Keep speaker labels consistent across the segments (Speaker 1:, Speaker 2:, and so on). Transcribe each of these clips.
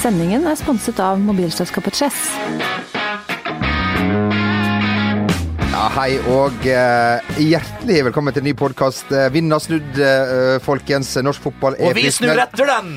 Speaker 1: Sendingen er sponset av mobilselskapet Chess.
Speaker 2: Ja, hei og eh, hjertelig velkommen til en ny podkast. Eh, Vinden har snudd, eh, folkens. Norsk fotball er
Speaker 3: Og vi snur
Speaker 2: friskmeldt.
Speaker 3: etter den!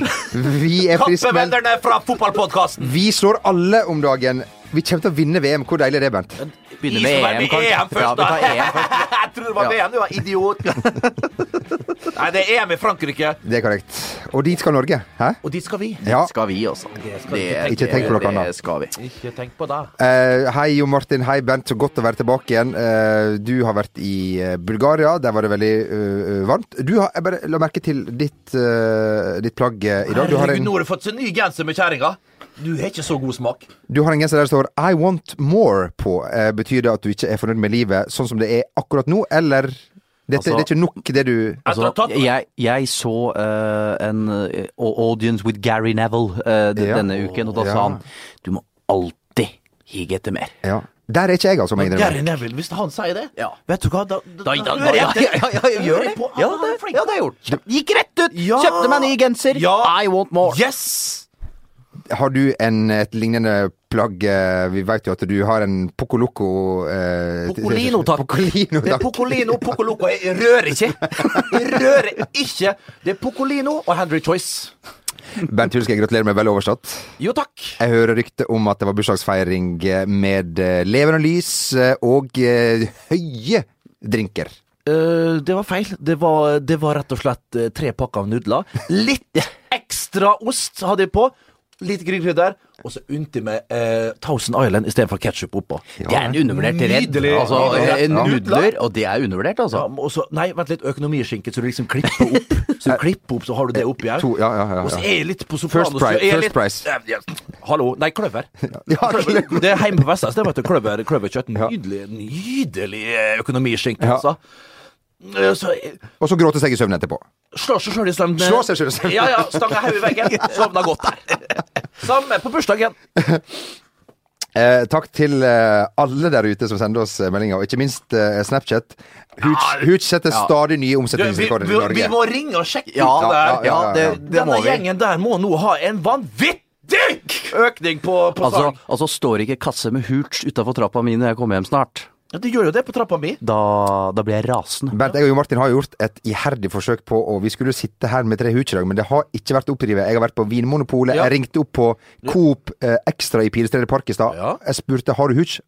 Speaker 2: Vi er friskmeldt.
Speaker 3: Kappevennerne fra fotballpodkasten!
Speaker 2: Vi slår alle om dagen. Vi kommer til å vinne VM. Hvor deilig er det, Bernt?
Speaker 4: Begynner med EM, kanskje.
Speaker 3: EM
Speaker 4: Ja,
Speaker 3: først,
Speaker 4: vi
Speaker 3: da.
Speaker 4: tar EM
Speaker 3: Jeg tror det var
Speaker 2: Ja.
Speaker 3: VM, du var idiot. Nei, det er EM i Frankrike,
Speaker 2: Det er korrekt. Og dit skal Norge. Hæ?
Speaker 3: og dit skal vi.
Speaker 2: Ja.
Speaker 4: Skal vi, altså. Det-
Speaker 2: Ikke tenk på noe
Speaker 4: det-
Speaker 2: annet.
Speaker 4: Det skal vi.
Speaker 3: Ikke tenk på det.
Speaker 2: Eh, hei, Jo Martin. Hei, Bernt. Så godt å være tilbake igjen. Eh, du har vært i eh, Bulgaria. Der var det veldig eh, varmt. Du har, jeg bare la merke til ditt, eh, ditt plagg eh, i dag. Du har,
Speaker 3: Herregud,
Speaker 2: en,
Speaker 3: nå har du fått seg ny genser med kjerringa. Du har ikke så god smak.
Speaker 2: du har en genser der det står 'I want more' på. Eh, betyr det at du ikke er fornøyd med livet sånn som det er akkurat nå, eller dette,
Speaker 4: Altså-
Speaker 2: Det er ikke nok, det du
Speaker 3: Etter å ha
Speaker 4: Altså,
Speaker 3: tatt
Speaker 4: jeg, jeg så eh, en eh, audience with Gary Neville eh, d-
Speaker 2: Ja.
Speaker 4: denne uken, og da sa
Speaker 2: Ja.
Speaker 4: han du må alltid hige etter mer.
Speaker 2: Ja. Der er ikke jeg, altså, må jeg innrømme.
Speaker 3: Gary Neville, hvis han sier det
Speaker 4: Ja.
Speaker 3: Vet du hva, da,
Speaker 4: Da, da, da,
Speaker 3: hører jeg
Speaker 4: ja,
Speaker 3: etter.
Speaker 4: ja, ja, ja, gjør det.
Speaker 3: På-
Speaker 4: Ja,
Speaker 3: han
Speaker 4: det,
Speaker 3: er flink.
Speaker 4: ja, det er gjort. Gikk rett ut!
Speaker 3: Ja.
Speaker 4: Kjøpte meg ny genser.
Speaker 3: Ja.
Speaker 4: I want more.
Speaker 3: Yes!
Speaker 2: Har du en, et lignende plagg eh, Vi vet jo at du har en Poco Loco eh,
Speaker 4: Pocolino, takk.
Speaker 2: Pocolino,
Speaker 3: Det er
Speaker 2: takk.
Speaker 3: Pocolino, Pocoloco. Jeg rører ikke. Jeg rører ikke. Det er Pocolino og Henry Choice.
Speaker 2: Bernt Hulske, jeg gratulerer med vel overstått.
Speaker 3: Jo, takk.
Speaker 2: Jeg hører rykte om at det var bursdagsfeiring med eh, levende lys eh, og eh, høye drinker.
Speaker 3: Eh, det var feil. Det var, det var rett og slett eh, tre pakker av nudler. Litt ekstra ost hadde jeg på. Litt grillkrydder. Og så unte jeg med eh, Thousand Island istedenfor ketsjup oppå.
Speaker 4: Det er en undervurdert redd.
Speaker 3: Nydelig.
Speaker 4: Altså,
Speaker 3: Ja.
Speaker 4: eh,
Speaker 3: Ja.
Speaker 4: nudler, og det er undervurdert, altså.
Speaker 3: Ja, og så, nei, vent litt. Økonomiskinke, så du liksom klipper opp. Så du klipper opp, så har du det oppi her.
Speaker 2: To, ja, ja, ja,
Speaker 3: Og så
Speaker 2: ja.
Speaker 3: er jeg litt på sofaen.
Speaker 2: First
Speaker 3: og så er
Speaker 2: price,
Speaker 3: jeg
Speaker 2: first
Speaker 3: litt-
Speaker 2: price.
Speaker 3: Eh, ja. Hallo. Nei, kløver.
Speaker 2: Ja,
Speaker 3: Kløver.
Speaker 2: ok.
Speaker 3: Det er hjemme på Vestlands. Det vet du. Kløver, kløverkjøtt.
Speaker 2: Ja.
Speaker 3: Nydelig, nydelig eh, økonomiskinke,
Speaker 2: Ja.
Speaker 3: altså. Eh, Så eh,
Speaker 2: Og så gråte seg i søvn etterpå.
Speaker 3: Slår seg sjøl i søvn. eh.
Speaker 2: Slår seg selv i søvn.
Speaker 3: Ja, ja. Stanga hodet i veggen. Sovna godt der. Samme på bursdagen.
Speaker 2: Eh, takk til eh, alle der ute som sender oss eh, meldinger, og ikke minst eh, Snapchat. Hooch Hooch setter stadig nye
Speaker 3: Du, vi,
Speaker 2: omsetningsrekorder i
Speaker 3: vi, vi
Speaker 2: Norge.
Speaker 3: må ringe og sjekke
Speaker 4: Ja,
Speaker 3: ut
Speaker 2: ja,
Speaker 3: det der.
Speaker 2: ja, ja, ja.
Speaker 4: det- det
Speaker 3: Denne
Speaker 4: må vi.
Speaker 3: gjengen der må nå ha en vanvittig økning på, på
Speaker 4: Altså,
Speaker 3: sang.
Speaker 4: altså står ikke kasse med hurts utafor trappa mi når jeg kommer hjem snart.
Speaker 3: Ja, det gjør jo det på trappa mi.
Speaker 4: Da, da blir jeg rasende.
Speaker 2: Bernt, jeg og Jo Martin har gjort et iherdig forsøk på Og vi skulle jo sitte her med tre hooch i dag, men det har ikke vært oppdrivet. Jeg har vært på Vinmonopolet,
Speaker 3: Ja.
Speaker 2: jeg ringte opp på Coop eh, Extra i Pilestredet Park i stad.
Speaker 3: Ja.
Speaker 2: Jeg spurte har du hooch.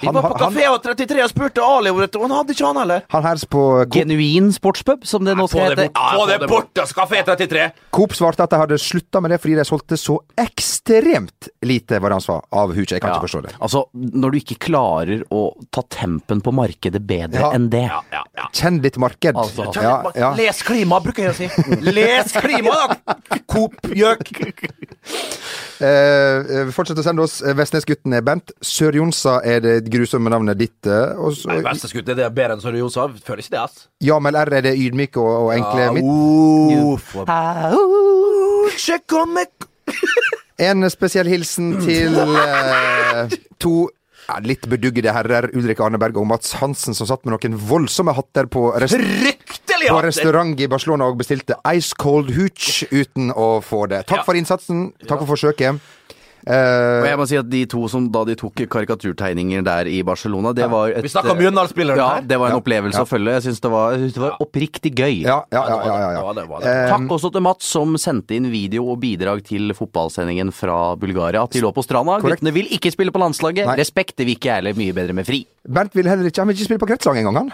Speaker 3: Vi var på Kafé og 33 og spurte Ali om dette, og han hadde ikke han heller.
Speaker 2: Han her på Coop,
Speaker 4: Genuin sportspub, som det nå
Speaker 3: Få
Speaker 4: skal
Speaker 3: det
Speaker 4: hete.
Speaker 3: bort, få det bort, altså, Kafé 33.
Speaker 2: Coop svarte at de hadde slutta med det fordi de solgte så ekstremt lite, var det han sa, av hooch. Jeg kan ikke forstå det.
Speaker 4: Altså, når du ikke klarer å ta tempen på markedet bedre
Speaker 2: Ja.
Speaker 4: enn det.
Speaker 3: Ja, ja, ja.
Speaker 2: Kjenn ditt marked.
Speaker 4: Altså,
Speaker 2: ja, ja.
Speaker 3: Les klima, bruker jeg å si. Les klima, da! Coop Gjøk.
Speaker 2: Eh, eh, fortsett å sende oss. Eh, Vestnesgutten er Bent. Sør-Jonsa er det grusomme navnet ditt. eh, Og så,
Speaker 3: Nei, Venstreskudd er det bedre enn Sørre Josa. Føler ikke det, ass.
Speaker 2: Jamel R er det ydmyke og, og enkle
Speaker 3: Ja,
Speaker 2: mitt.
Speaker 3: uff, og-
Speaker 4: Au.
Speaker 3: Sjekk om jeg-
Speaker 2: En spesiell hilsen til eh, to ja, litt beduggede herrer, Ulrik Arneberg og Mats Hansen, som satt med noen voldsomme hatter på, rest
Speaker 3: Fryktelig
Speaker 2: på
Speaker 3: hatt!
Speaker 2: restaurant i Barcelona og bestilte Ice Cold Hooch uten å få det. Takk
Speaker 3: Ja.
Speaker 2: for innsatsen. Takk for forsøket. Eh,
Speaker 4: Og jeg må si at de to som da de tok karikaturtegninger der i Barcelona, det var et
Speaker 3: Vi snakker om Mjøndalen-spilleren
Speaker 4: ja,
Speaker 3: her.
Speaker 4: det var en
Speaker 2: Ja.
Speaker 4: opplevelse
Speaker 2: Ja.
Speaker 4: å følge. Jeg syns det, var- jeg synes det var oppriktig gøy.
Speaker 2: ja, eh. ja, ja, ja, ja, ja.
Speaker 3: Det var det, det var det.
Speaker 4: Takk også til Mats som sendte inn video og bidrag til fotballsendingen fra Bulgaria. At de lå på stranda.
Speaker 2: Korrekt.
Speaker 4: Guttene vil ikke spille på landslaget.
Speaker 2: Nei.
Speaker 4: Respekt, det vil ikke jeg heller. Mye bedre med fri.
Speaker 2: Bernt vil heller ikke Han vil ikke spille på kretslag engang, han.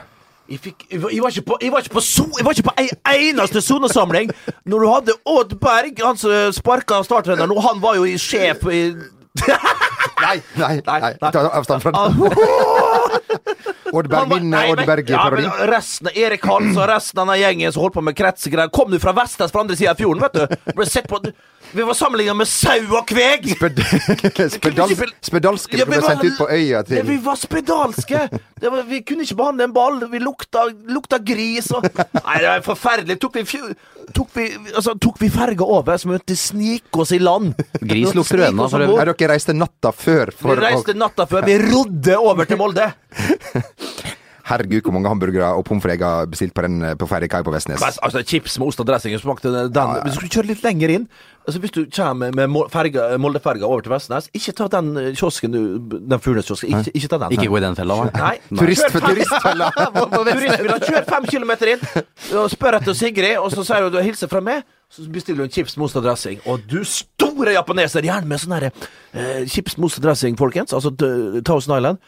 Speaker 3: Jeg, fikk, jeg, var, jeg, var ikke på, jeg var ikke på so, Jeg var ikke på ei eneste sonesamling! Når du hadde Odd Berg, han som sparka starttreneren nå, han var jo i sjef i
Speaker 2: Nei, nei,
Speaker 3: Nei,
Speaker 2: nei.
Speaker 3: nei.
Speaker 2: Ta avstand fra det. Oddberg,
Speaker 3: Han var-
Speaker 2: min eh,
Speaker 3: nei, men- ja,
Speaker 2: Oddberg-parodi.
Speaker 3: men resten av Erik Hans og resten av den gjengen som holdt på med kretsegreier, kom du fra Vestnes på andre sida av fjorden, vet du? Ble sett på, vi var sammenligna med sau og kveg!
Speaker 2: Spedal- Spedalsk- Spedalske
Speaker 3: Ja,
Speaker 2: ble
Speaker 3: vi var-
Speaker 2: sendt ut på øya
Speaker 3: Ja, vi
Speaker 2: til
Speaker 3: var spedalske! Det var, vi kunne ikke behandle en ball. Vi lukta, lukta gris og Nei, det var forferdelig. Tok vi, fjor, tok vi, altså, tok vi ferga over, så vi måtte snike oss i land.
Speaker 4: Gris
Speaker 3: Vi måtte
Speaker 4: lukter
Speaker 3: snike
Speaker 4: øynene,
Speaker 3: oss
Speaker 4: for
Speaker 3: om
Speaker 4: øvrig.
Speaker 3: bord.
Speaker 2: Nei, dere reiste natta før
Speaker 3: Vi
Speaker 2: for å
Speaker 3: reiste natta før. Vi rodde over til Molde.
Speaker 2: Herregud, hvor mange hamburgere og pommes frites jeg har bestilt på, den, eh, på ferjekai på Vestnes.
Speaker 3: Best, altså, chips med ost og dressing smakte den. Men Hvis du kjører litt lenger inn altså, Hvis du kommer med Mo- ferga- Molde-ferga over til Vestnes, ikke ta den eh, kiosken du- Den Furnes-kiosken. Ikke, ikke ta den.
Speaker 4: Ikke gå i den fella, da.
Speaker 3: Nei.
Speaker 2: Turist-
Speaker 3: Kjør fem-
Speaker 2: turistfella.
Speaker 3: På- på Vestnes. Turistfella. Kjør fem kilometer inn og spør etter Sigrid, og så sier hun du hilser fra meg. Så bestiller hun chips, most og dressing. Og du store japaneser, gjerne med sånn herre eh, chips, most og dressing, folkens. Altså t- Thousand Island.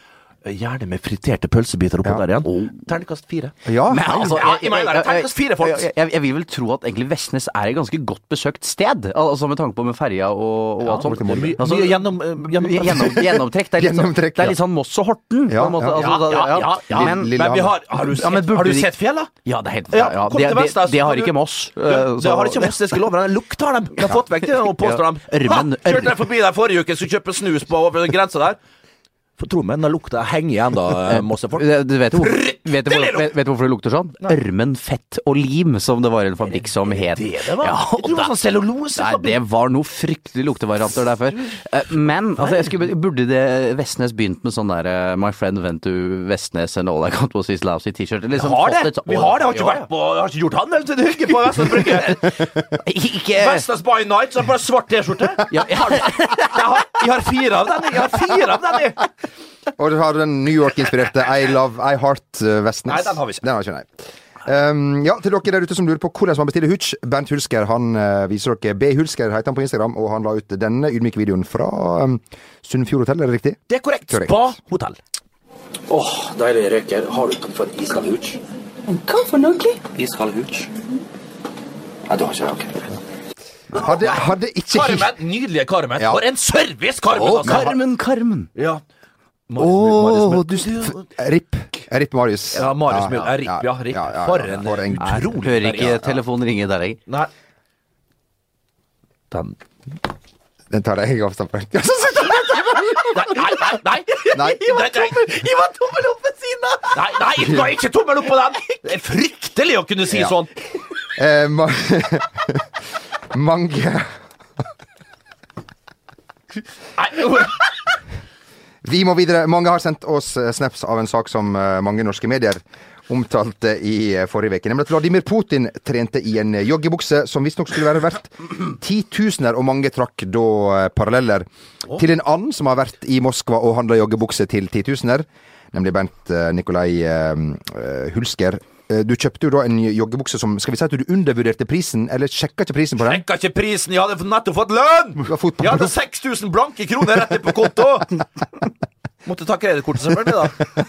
Speaker 3: Eh, Gjerne med friterte pølsebiter oppå
Speaker 2: Ja.
Speaker 3: der igjen. Terningkast fire.
Speaker 2: Ja,
Speaker 4: Men
Speaker 2: hei.
Speaker 4: altså,
Speaker 3: Ja, jeg mener det. Terningkast fire, folkens.
Speaker 4: jeg- jeg- jeg vil vel tro at egentlig Vestnes er et ganske godt besøkt sted, altså med tanke på med ferja og, og alt sånt.
Speaker 3: Det er mye-
Speaker 4: Altså,
Speaker 3: mye gjennom, eh, gjennom,
Speaker 4: Gjennom, gjennomtrekk. Det er litt, sånn-
Speaker 2: Gjennomtrekk,
Speaker 4: det
Speaker 2: ja.
Speaker 4: er litt sånn Moss og Horten.
Speaker 2: Ja,
Speaker 4: på en måte.
Speaker 2: ja.
Speaker 4: Altså,
Speaker 3: Ja, ja, ja.
Speaker 4: Men,
Speaker 2: Lille-
Speaker 3: Men vi har, har du sett,
Speaker 4: Ja, men burde
Speaker 3: har du
Speaker 4: de-
Speaker 3: sett fjella?
Speaker 4: ja, det er helt
Speaker 3: Ja,
Speaker 4: ja, ja.
Speaker 3: kom
Speaker 4: Det,
Speaker 3: til
Speaker 4: det,
Speaker 3: Vestnes,
Speaker 4: det,
Speaker 3: så
Speaker 4: har
Speaker 3: kan
Speaker 4: ikke
Speaker 3: du-
Speaker 4: Moss.
Speaker 3: Ja,
Speaker 4: eh,
Speaker 3: det
Speaker 4: så-
Speaker 3: har ikke Moss, det skulle over. Den lukter dem! De har fått vekk det og påstår dem.
Speaker 4: Ørmen-
Speaker 3: Ha! Kjørte jeg forbi der forrige uke, skulle kjøpe snus på over grensa der. For tro meg, den lukta henger igjen da, eh, Mossefolk.
Speaker 4: Det- Du vet jo hvor, vet du hvor, vet, vet du hvorfor det lukter sånn? Ørmen, fett og lim, som det var i en fabrikk som het.
Speaker 3: Det det var.
Speaker 4: Ja,
Speaker 3: Jeg tror
Speaker 4: og
Speaker 3: det var
Speaker 4: der-
Speaker 3: sånn cellulose.
Speaker 4: Nei, det var noe fryktelig luktevarianter der før. Eh, Men altså, jeg skulle, burde det Vestnes begynt med sånn der eh, My friend went to Vestnes and all I got was his lousy t-shirt? Liksom
Speaker 3: Vi har
Speaker 4: fått
Speaker 3: det!
Speaker 4: et sånt-
Speaker 3: Vi har det, har ikke,
Speaker 4: Ja, ja.
Speaker 3: vært på, har ikke gjort handel til det ikke på Vestnes Brygge.
Speaker 4: Ikke
Speaker 3: Vestnes by night, så er det bare svart T-skjorte.
Speaker 4: ja, ja.
Speaker 3: Eh. Jeg, har- jeg har fire av den, jeg. jeg har fire av den, jeg.
Speaker 2: Og du har den New York-inspirerte I Love I Heart eh, Vestnes.
Speaker 3: Nei, den har vi ikke.
Speaker 2: Den har ikke, nei. Um, ja, til dere der ute som lurer på hvordan man bestiller hooch. Bernt Hulsker han eh, viser dere B. Hulsker heter han på Instagram, og han la ut denne ydmyke videoen fra um, Sunnfjord hotell, er det riktig?
Speaker 3: Det er korrekt.
Speaker 2: Korrekt.
Speaker 3: Spa hotell.
Speaker 5: Åh, deilig reker. Har du ikke fått iskald hooch?
Speaker 6: Hva for noe?
Speaker 5: Iskald hooch? Nei, du har ikke det, ok.
Speaker 2: Hadde, hadde ikke
Speaker 3: Carmen, nydelige Carmen.
Speaker 2: Ja.
Speaker 3: For en service, Carmen!
Speaker 4: Å,
Speaker 3: altså.
Speaker 4: Carmen, Carmen.
Speaker 3: Ja.
Speaker 2: Åh, du
Speaker 3: Marius-
Speaker 2: Ripp. Ripp Marius.
Speaker 3: Ja, Marius Müller. Ja, Ripp, ja. Ripp. For en
Speaker 4: Nei,
Speaker 3: utrolig Ja,
Speaker 4: Hører
Speaker 3: ja.
Speaker 4: ikke telefonen ringe der lenger.
Speaker 3: Nei. Den
Speaker 2: Den tar jeg avstand fra. Ja, så
Speaker 3: Nei, nei, nei! nei.
Speaker 2: Nei.
Speaker 3: Jeg, var tommel, jeg var tommel opp ved siden av! Nei, nei, jeg ga ikke tommel opp på den! Det er fryktelig å kunne si
Speaker 2: Ja.
Speaker 3: sånn.
Speaker 2: Eh, ma mange
Speaker 3: Nei,
Speaker 2: Vi må videre. Mange har sendt oss eh, snaps av en sak som eh, mange norske medier omtalte i eh, forrige uke. Nemlig at Vladimir Putin trente i en joggebukse som visstnok skulle være verdt titusener, og mange trakk da eh, paralleller til en annen som har vært i Moskva og handla joggebukse til titusener, nemlig Bent eh, Nikolai eh, eh, Hulsker. Eh, Du kjøpte jo da en joggebukse som Skal vi si at du undervurderte prisen, eller sjekka ikke prisen på den?
Speaker 3: Tenk ikke prisen! Jeg hadde nettopp fått lønn!
Speaker 2: Du har fotball-
Speaker 3: Jeg hadde 6000 blanke kroner rett inn på konto! Måtte ta kredittkortet, selvfølgelig.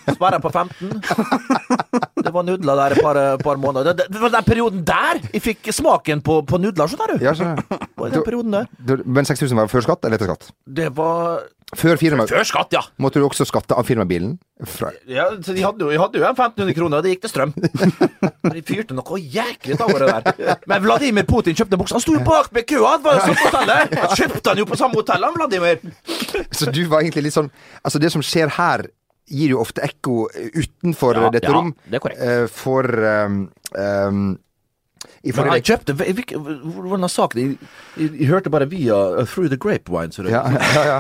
Speaker 3: da Sperra på 15. Det var nudler der et par, par måneder. Det, det, det var den perioden der jeg fikk smaken på, på nudler. Sånn der, du.
Speaker 2: Ja, skjønner jeg.
Speaker 3: Det var den perioden der.
Speaker 2: Du- Men 6000 var før skatt eller etter skatt?
Speaker 3: Det var
Speaker 2: Før firmaet.
Speaker 3: før skatt, ja.
Speaker 2: Måtte du også skatte av firmabilen? Fra,
Speaker 3: ja så de hadde, jo, jeg hadde jo en 1500 kroner, og det gikk til strøm. De fyrte noe jæklig av gårde der. Men Vladimir Putin kjøpte en bukse. Han sto jo bak med køa! Det var jo samme hotellet! Han Kjøpte han jo på samme hotell, han Vladimir!
Speaker 2: så du var egentlig litt sånn Altså, det som skjer her, gir jo ofte ekko eh, utenfor
Speaker 3: Ja,
Speaker 2: dette
Speaker 3: ja,
Speaker 2: rom.
Speaker 3: det er korrekt.
Speaker 2: eh, for um, um, I
Speaker 3: Men
Speaker 2: forrige
Speaker 3: jeg kjøpte jeg, fikk- Hvordan er saken? Jeg, jeg, jeg hørte bare via uh, Through the Grapevine. Så det,
Speaker 2: ja, ja,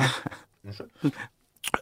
Speaker 2: ja.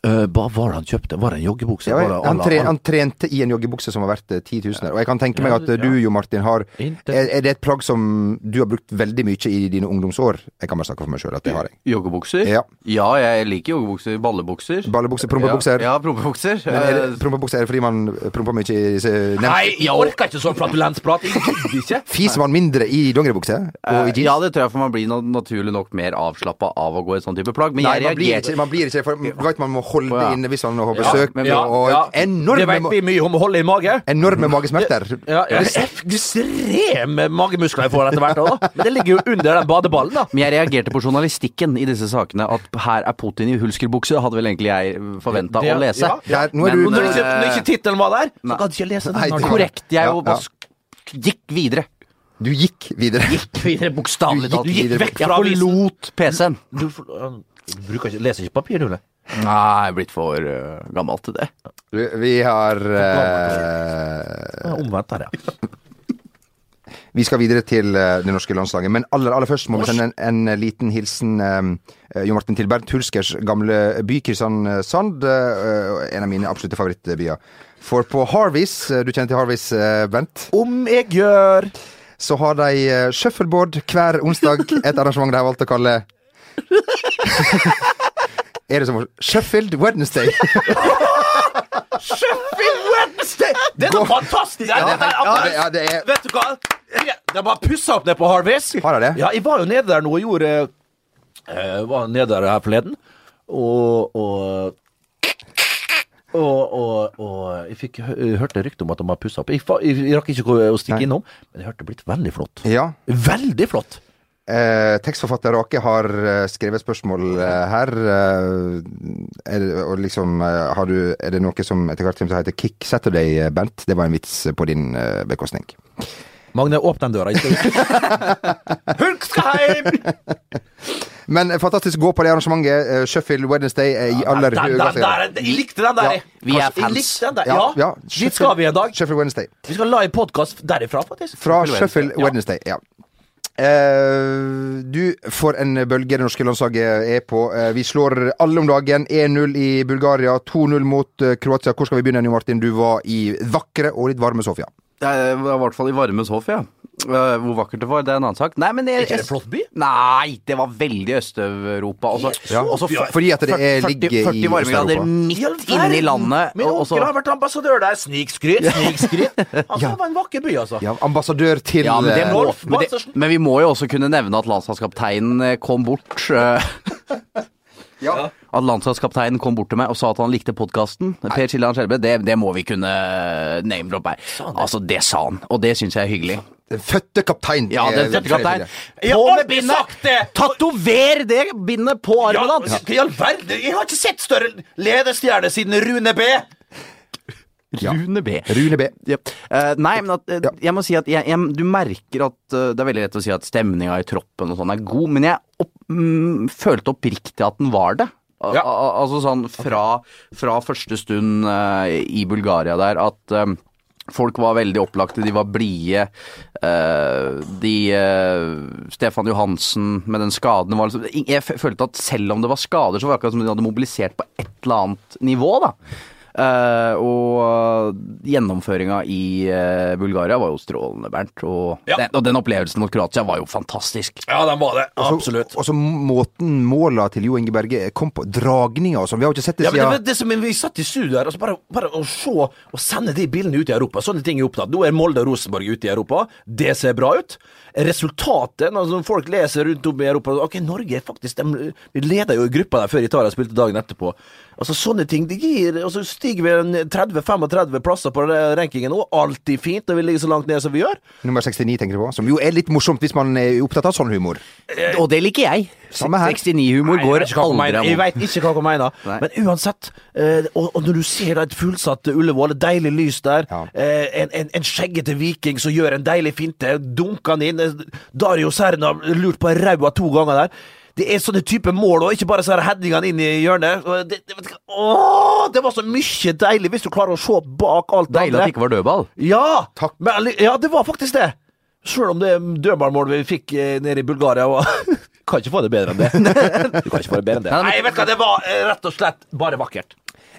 Speaker 3: Uh, hva var det han kjøpte? Var det en joggebukse?
Speaker 2: Ja,
Speaker 3: Var det
Speaker 2: han,
Speaker 3: alla-
Speaker 2: tre,
Speaker 3: alla-
Speaker 2: han trente i en joggebukse som var verdt eh, 10 000. Og jeg kan tenke meg
Speaker 3: Ja,
Speaker 2: at eh, du, Jo Martin, har
Speaker 3: Inte-
Speaker 2: er, er det et plagg som du har brukt veldig mye i dine ungdomsår? Jeg kan bare snakke for meg sjøl at det har jeg.
Speaker 4: Joggebukser?
Speaker 2: Ja.
Speaker 4: ja, jeg liker joggebukser. Ballebukser.
Speaker 2: Ballebukser, prompebukser.
Speaker 4: Ja, ja prompebukser.
Speaker 2: Men er det,
Speaker 4: Eh,
Speaker 2: prompebukser er det fordi man promper mye i se-
Speaker 3: Nei,
Speaker 2: nem-
Speaker 3: jeg orker ikke sånn flatulensprat! Jeg gidder ikke!
Speaker 2: Fiser man mindre i dongeribukse og i jeans?
Speaker 4: Eh, Ja, det tror jeg, for man blir na- naturlig nok mer avslappa av å gå i sånn type plagg. Men
Speaker 2: Nei,
Speaker 4: jeg
Speaker 2: man blir ikke,
Speaker 4: reagerte
Speaker 2: man blir ikke for, du vet, man må holde
Speaker 4: Å, ja.
Speaker 2: inne hvis man har besøk.
Speaker 4: men-
Speaker 2: og, og
Speaker 3: ja. Det
Speaker 2: enorme,
Speaker 3: vet
Speaker 2: ma-
Speaker 3: vi mye om å holde i mage.
Speaker 2: enorme magesmerter.
Speaker 3: Ja, ja. Ekstreme magemuskler jeg får etter hvert. da. Men det ligger jo under den badeballen, da.
Speaker 4: men jeg reagerte på journalistikken i disse sakene. At her er Putin i hulskerbukse, hadde vel egentlig jeg forventa
Speaker 3: Det-
Speaker 4: å lese.
Speaker 3: ja.
Speaker 2: Der, nå er
Speaker 4: Men-
Speaker 2: du
Speaker 3: Og når ikke, når ikke tittelen var der,
Speaker 4: Nei.
Speaker 3: så gadd ikke eh, jeg lese den.
Speaker 2: Nei,
Speaker 3: artikkelen.
Speaker 2: det var-
Speaker 4: Korrekt. Jeg
Speaker 2: Ja,
Speaker 4: jo
Speaker 2: ja.
Speaker 4: bare sk- gikk videre.
Speaker 2: Du gikk videre.
Speaker 4: Videre Bokstavelig
Speaker 2: Du
Speaker 4: talt.
Speaker 2: gikk- du gikk
Speaker 3: vekk
Speaker 4: Jeg
Speaker 3: fra avisen.
Speaker 4: forlot PC-en.
Speaker 3: Du får- han bruker ikke, leser ikke papir, Nulle.
Speaker 4: Nei, jeg er blitt for eh, gammel til det.
Speaker 2: Du, vi har eh,
Speaker 3: Omvendt her, ja.
Speaker 2: Vi skal videre til eh, det norske landslaget, men aller, aller først må vi sende en, en liten hilsen eh, Jo Martin til Bernt Hulskers gamle by, Kristiansand. eh, en av mine absolutte favorittbyer. For på Harveys, eh, du kjenner til Harveys, eh, Bent,
Speaker 3: Om jeg gjør
Speaker 2: så har de eh, shuffleboard hver onsdag. Et arrangement de har valgt å kalle Er det som Sheffield Wednesday?
Speaker 3: Sheffield Wednesday! Det er noe fantastisk!
Speaker 2: Ja, det er helt- ja, det- ja,
Speaker 3: Anders,
Speaker 2: det er-
Speaker 3: Vet du hva? Det- De har pussa opp nede på Harveys.
Speaker 2: Har de det?
Speaker 3: Ja, jeg var jo nede der nå og gjorde eh, Var nede der her forleden, og og og, og, og jeg fikk hø- hørte rykte om at de har pussa opp. Jeg, fa- jeg, jeg rakk ikke å- å stikke
Speaker 2: Nei.
Speaker 3: innom, men jeg hørte det blitt veldig flott.
Speaker 2: Ja.
Speaker 3: Veldig flott!
Speaker 2: Eh, tekstforfatter Rake har eh, skrevet spørsmål eh, her. Eh, er, det- og liksom, eh, har du, er det noe som etter hvert kommer til å hete Kick Saturday, eh, Bent? Det var en vits på din eh, bekostning.
Speaker 3: Magne, åpne den døra. jeg skal ut. Hulk skal hjem!
Speaker 2: Men eh, fantastisk gå på det arrangementet. Eh, Sheffield Wednesday er i aller
Speaker 3: Den- den-
Speaker 2: høyeste
Speaker 3: den der, Jeg likte den der. jeg.
Speaker 4: Vi er
Speaker 3: Jeg
Speaker 4: fans.
Speaker 3: likte den der.
Speaker 2: Ja,
Speaker 3: Ja,
Speaker 2: ja.
Speaker 3: dit skal vi en dag.
Speaker 2: Sheffield Wednesday.
Speaker 3: Vi skal lage podkast derifra, faktisk.
Speaker 2: Fra
Speaker 4: Sheffield
Speaker 2: Sheffield Wednesday, ja. Eh, du, for en bølge det norske landslaget er på. Eh, vi slår alle om dagen. 1-0 i Bulgaria, 2-0 mot eh, Kroatia. Hvor skal vi begynne, Jo Martin? Du var i vakre og litt varme Sofia.
Speaker 4: Jeg var i hvert fall i varme Sofia. Eh, Hvor vakkert det var, det er en annen sak. Nei, men jeg,
Speaker 3: Ikke er det flott by?
Speaker 4: Nei, det var veldig Øst-Europa. Altså,
Speaker 2: Ja,
Speaker 4: også
Speaker 2: f- fordi at det er
Speaker 4: 40
Speaker 2: ligger i
Speaker 4: 40 varmegrader
Speaker 2: Øst-Europa.
Speaker 4: midt inne i landet.
Speaker 3: Min
Speaker 4: og- og så-
Speaker 3: onkel har vært ambassadør der. Snikskryt, snikskryt. Altså, Det var en vakker by, altså.
Speaker 2: Ja, ambassadør til
Speaker 4: Ja, men, det
Speaker 2: eh,
Speaker 4: må,
Speaker 3: Rolf
Speaker 4: men, det,
Speaker 3: Mastersen.
Speaker 4: men vi må jo også kunne nevne at landslagskapteinen eh, kom bort. eh,
Speaker 2: Ja.
Speaker 4: At landslagskapteinen kom bort til meg og sa at han likte podkasten. Per Siljan Skjelbred, det, det må vi kunne name-droppe her. Altså, det sa han, og det syns jeg er hyggelig.
Speaker 2: Den eh, fødte kaptein.
Speaker 4: Ja,
Speaker 2: eh,
Speaker 4: den fødte kaptein.
Speaker 3: Jeg har
Speaker 4: På med
Speaker 3: aldri sagt
Speaker 4: bindet!
Speaker 3: det!
Speaker 4: Tatover det bindet på armen
Speaker 3: Ja,
Speaker 4: hans!
Speaker 3: I all verden, jeg har ikke sett større ledestjerne siden Rune B!
Speaker 2: Ja.
Speaker 4: Rune B.
Speaker 2: Rune B.
Speaker 4: Jep. Eh, nei, men at, eh, jeg må si at jeg, jeg, du merker at eh, Det er veldig lett å si at stemninga i troppen og sånn er god, men jeg opp, mm, følte oppriktig at den var det. Al-
Speaker 3: Ja.
Speaker 4: al- altså sånn fra, fra første stund eh, i Bulgaria der at eh, folk var veldig opplagte, de var blide. eh, de eh, Stefan Johansen med den skaden var liksom Jeg f- følte at selv om det var skader, så var det akkurat som om de hadde mobilisert på et eller annet nivå, da. Eh, og gjennomføringa i eh, Bulgaria var jo strålende, Bernt. Og,
Speaker 3: Ja.
Speaker 4: den, og den opplevelsen mot Kroatia var jo fantastisk.
Speaker 3: Ja, den var det.
Speaker 2: Så-
Speaker 3: Absolutt.
Speaker 2: Og så måten måla til Jo Inge Berge kom på, dragninga og sånn. Vi har jo ikke sett det
Speaker 3: Ja, men det, var
Speaker 2: siden
Speaker 3: det som Vi satt i studio her, og så bare, bare å se og sende de bildene ut i Europa. Sånne ting er opptatt. Nå er Molde og Rosenborg ute i Europa. Det ser bra ut. Resultatet, når sånn folk leser rundt om i Europa Ok, Norge er faktisk de, Vi leder jo i gruppa der før Italia spilte dagen etterpå. Altså Sånne ting det gir Og så stiger vi en 30-35 plasser på den rankingen nå. Alltid fint når vi ligger så langt ned som vi gjør.
Speaker 2: nummer 69, tenker du på? Som jo er litt morsomt hvis man er opptatt av sånn humor.
Speaker 3: Eh,
Speaker 4: Og det liker jeg.
Speaker 2: Samme her.
Speaker 4: 69-humor går
Speaker 3: jeg vet ikke hva hun
Speaker 4: aldri
Speaker 3: mener.
Speaker 4: av
Speaker 3: Jeg
Speaker 4: meg.
Speaker 3: vet ikke hva hun mener.
Speaker 4: Nei.
Speaker 3: Men uansett, eh, og, og når du ser da et fullsatt Ullevål, et deilig lys der,
Speaker 2: Ja.
Speaker 3: eh, en, en, en skjeggete viking som gjør en deilig finte, dunker han inn eh, Dario Serna lurt på ræva to ganger der. Det er sånne type mål, og ikke bare sånne headingene inn i hjørnet. Og Det, det, vet du hva- åh, det var så mye deilig, hvis du klarer å se bak alt det
Speaker 4: Deilig at det ikke var dødball.
Speaker 3: ja!
Speaker 2: Takk.
Speaker 3: Men, alli- ja, det var faktisk det. Sjøl om det dødballmålet vi fikk eh, nede i Bulgaria var Kan ikke få det bedre enn det. Du kan ikke få det bedre enn det.
Speaker 4: Nei, men-
Speaker 3: Nei, vet du hva, det var eh, rett og slett bare vakkert.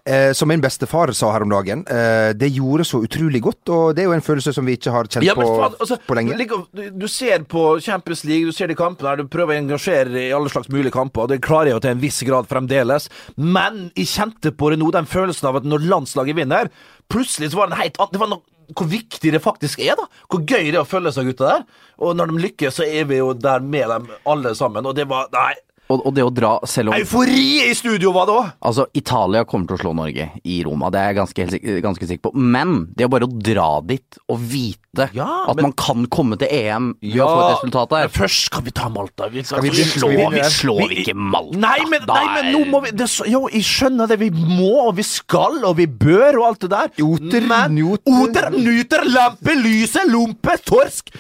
Speaker 2: Eh, som min bestefar sa her om dagen, eh, det gjorde så utrolig godt, og det er jo en følelse som vi ikke har kjent
Speaker 3: Ja, men
Speaker 2: på,
Speaker 3: faen, altså,
Speaker 2: på lenge.
Speaker 3: du ligger og- du, du ser på Champions League, du ser de kampene, her, du prøver å engasjere i alle slags mulige kamper, og det klarer jeg jo til en viss grad fremdeles, men jeg kjente på det nå, den følelsen av at når landslaget vinner, plutselig så var det en heit Det var noe hvor viktig det faktisk er, da. Hvor gøy det er å følge seg gutta der. Og når de lykkes, så er vi jo der med dem alle sammen, og det var Nei.
Speaker 4: Og, og det å dra, selv om
Speaker 3: Eufori i studio var det òg!
Speaker 4: Altså, Italia kommer til å slå Norge i Roma, det er jeg ganske, helt sik- ganske sikker på. Men det er bare å dra dit og vite
Speaker 3: Ja,
Speaker 4: at
Speaker 3: men-
Speaker 4: man kan komme til EM ved å få et resultat
Speaker 3: men
Speaker 4: der.
Speaker 3: Først skal vi ta Malta. Vi, skal altså
Speaker 2: vi begynne- skal vi
Speaker 4: Slå, vi
Speaker 2: begynne-
Speaker 4: slår ikke Malta.
Speaker 3: Nei, men,
Speaker 4: Da
Speaker 3: nei, men nå
Speaker 4: er-
Speaker 3: må vi det, er så- Jo, jeg skjønner det. Vi må, og vi skal, og vi bør, og alt det der.
Speaker 2: Joter,
Speaker 3: men,
Speaker 2: njoter.
Speaker 3: Oter, nyter, lampe, lyse, lompe, torsk.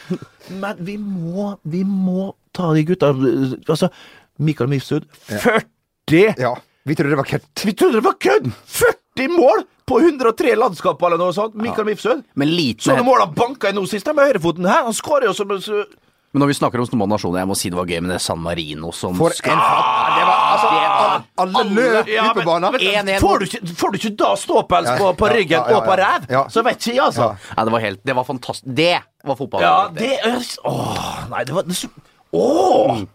Speaker 3: Men vi må, vi må ta de gutta Altså, Mikael Mifsud 40!
Speaker 2: Ja, vi trodde det var kødd.
Speaker 3: Vi trodde det var kødd! 40 mål! på 103 landskamper eller noe sånt. Mikael Mifsud.
Speaker 4: Men liten
Speaker 3: Sånne mål han banka inn nå sist, da, med høyrefoten her. Han skårer jo som så,
Speaker 4: Men når vi snakker om små nasjoner, jeg må si det var gøy med det San Marino som
Speaker 2: For en fatt! Det var altså Alle, alle løp
Speaker 3: Ja,
Speaker 2: ut på
Speaker 3: men-
Speaker 2: banen.
Speaker 3: men
Speaker 4: 1-1.
Speaker 3: Får, du ikke- får du ikke da ståpels på, på
Speaker 2: Ja, ja,
Speaker 3: ryggen
Speaker 2: ja,
Speaker 3: og på
Speaker 2: ja.
Speaker 3: ræv,
Speaker 2: Ja.
Speaker 3: så vet ikke jeg, altså.
Speaker 4: Nei, det var helt Det var fantastisk. Det var fotball.
Speaker 3: Ja, det er Åh, nei, det var det, så- Åh!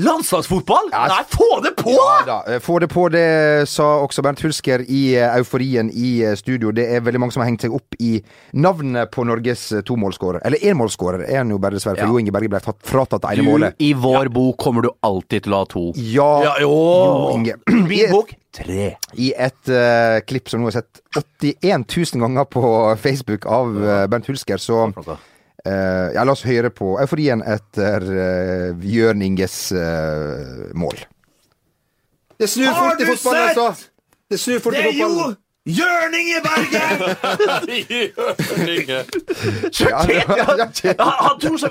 Speaker 3: Landslagsfotball?
Speaker 2: Mm. Ja, altså.
Speaker 3: Nei, få det på!
Speaker 2: Ja da. eh, Få det på, det sa også Bernt Hulsker i eh, euforien i eh, studio. Det er veldig mange som har hengt seg opp i navnet på Norges eh, tomålsskårer. Eller énmålsskårer er han jo bare, dessverre, for
Speaker 4: Ja.
Speaker 2: Jo Inge Berge ble tatt, fratatt det ene
Speaker 4: Du,
Speaker 2: målet.
Speaker 4: I vår bok kommer du alltid til å ha to.
Speaker 2: Ja,
Speaker 3: Ja, jo.
Speaker 2: Jo Inge. I
Speaker 3: Min
Speaker 2: et,
Speaker 3: bok tre.
Speaker 2: I et eh, klipp som nå er sett 81 000 ganger på Facebook av eh, Bernt Hulsker, så eh, Ja, la oss høre på euforien etter eh, Jørn Inges eh, mål. Det snur
Speaker 3: Har fort i du fotballen, sett? altså.
Speaker 2: Det snur fort
Speaker 3: Det er jo Jørning i Bergen!
Speaker 2: Ja, det var-
Speaker 3: Ja, Han, han tror så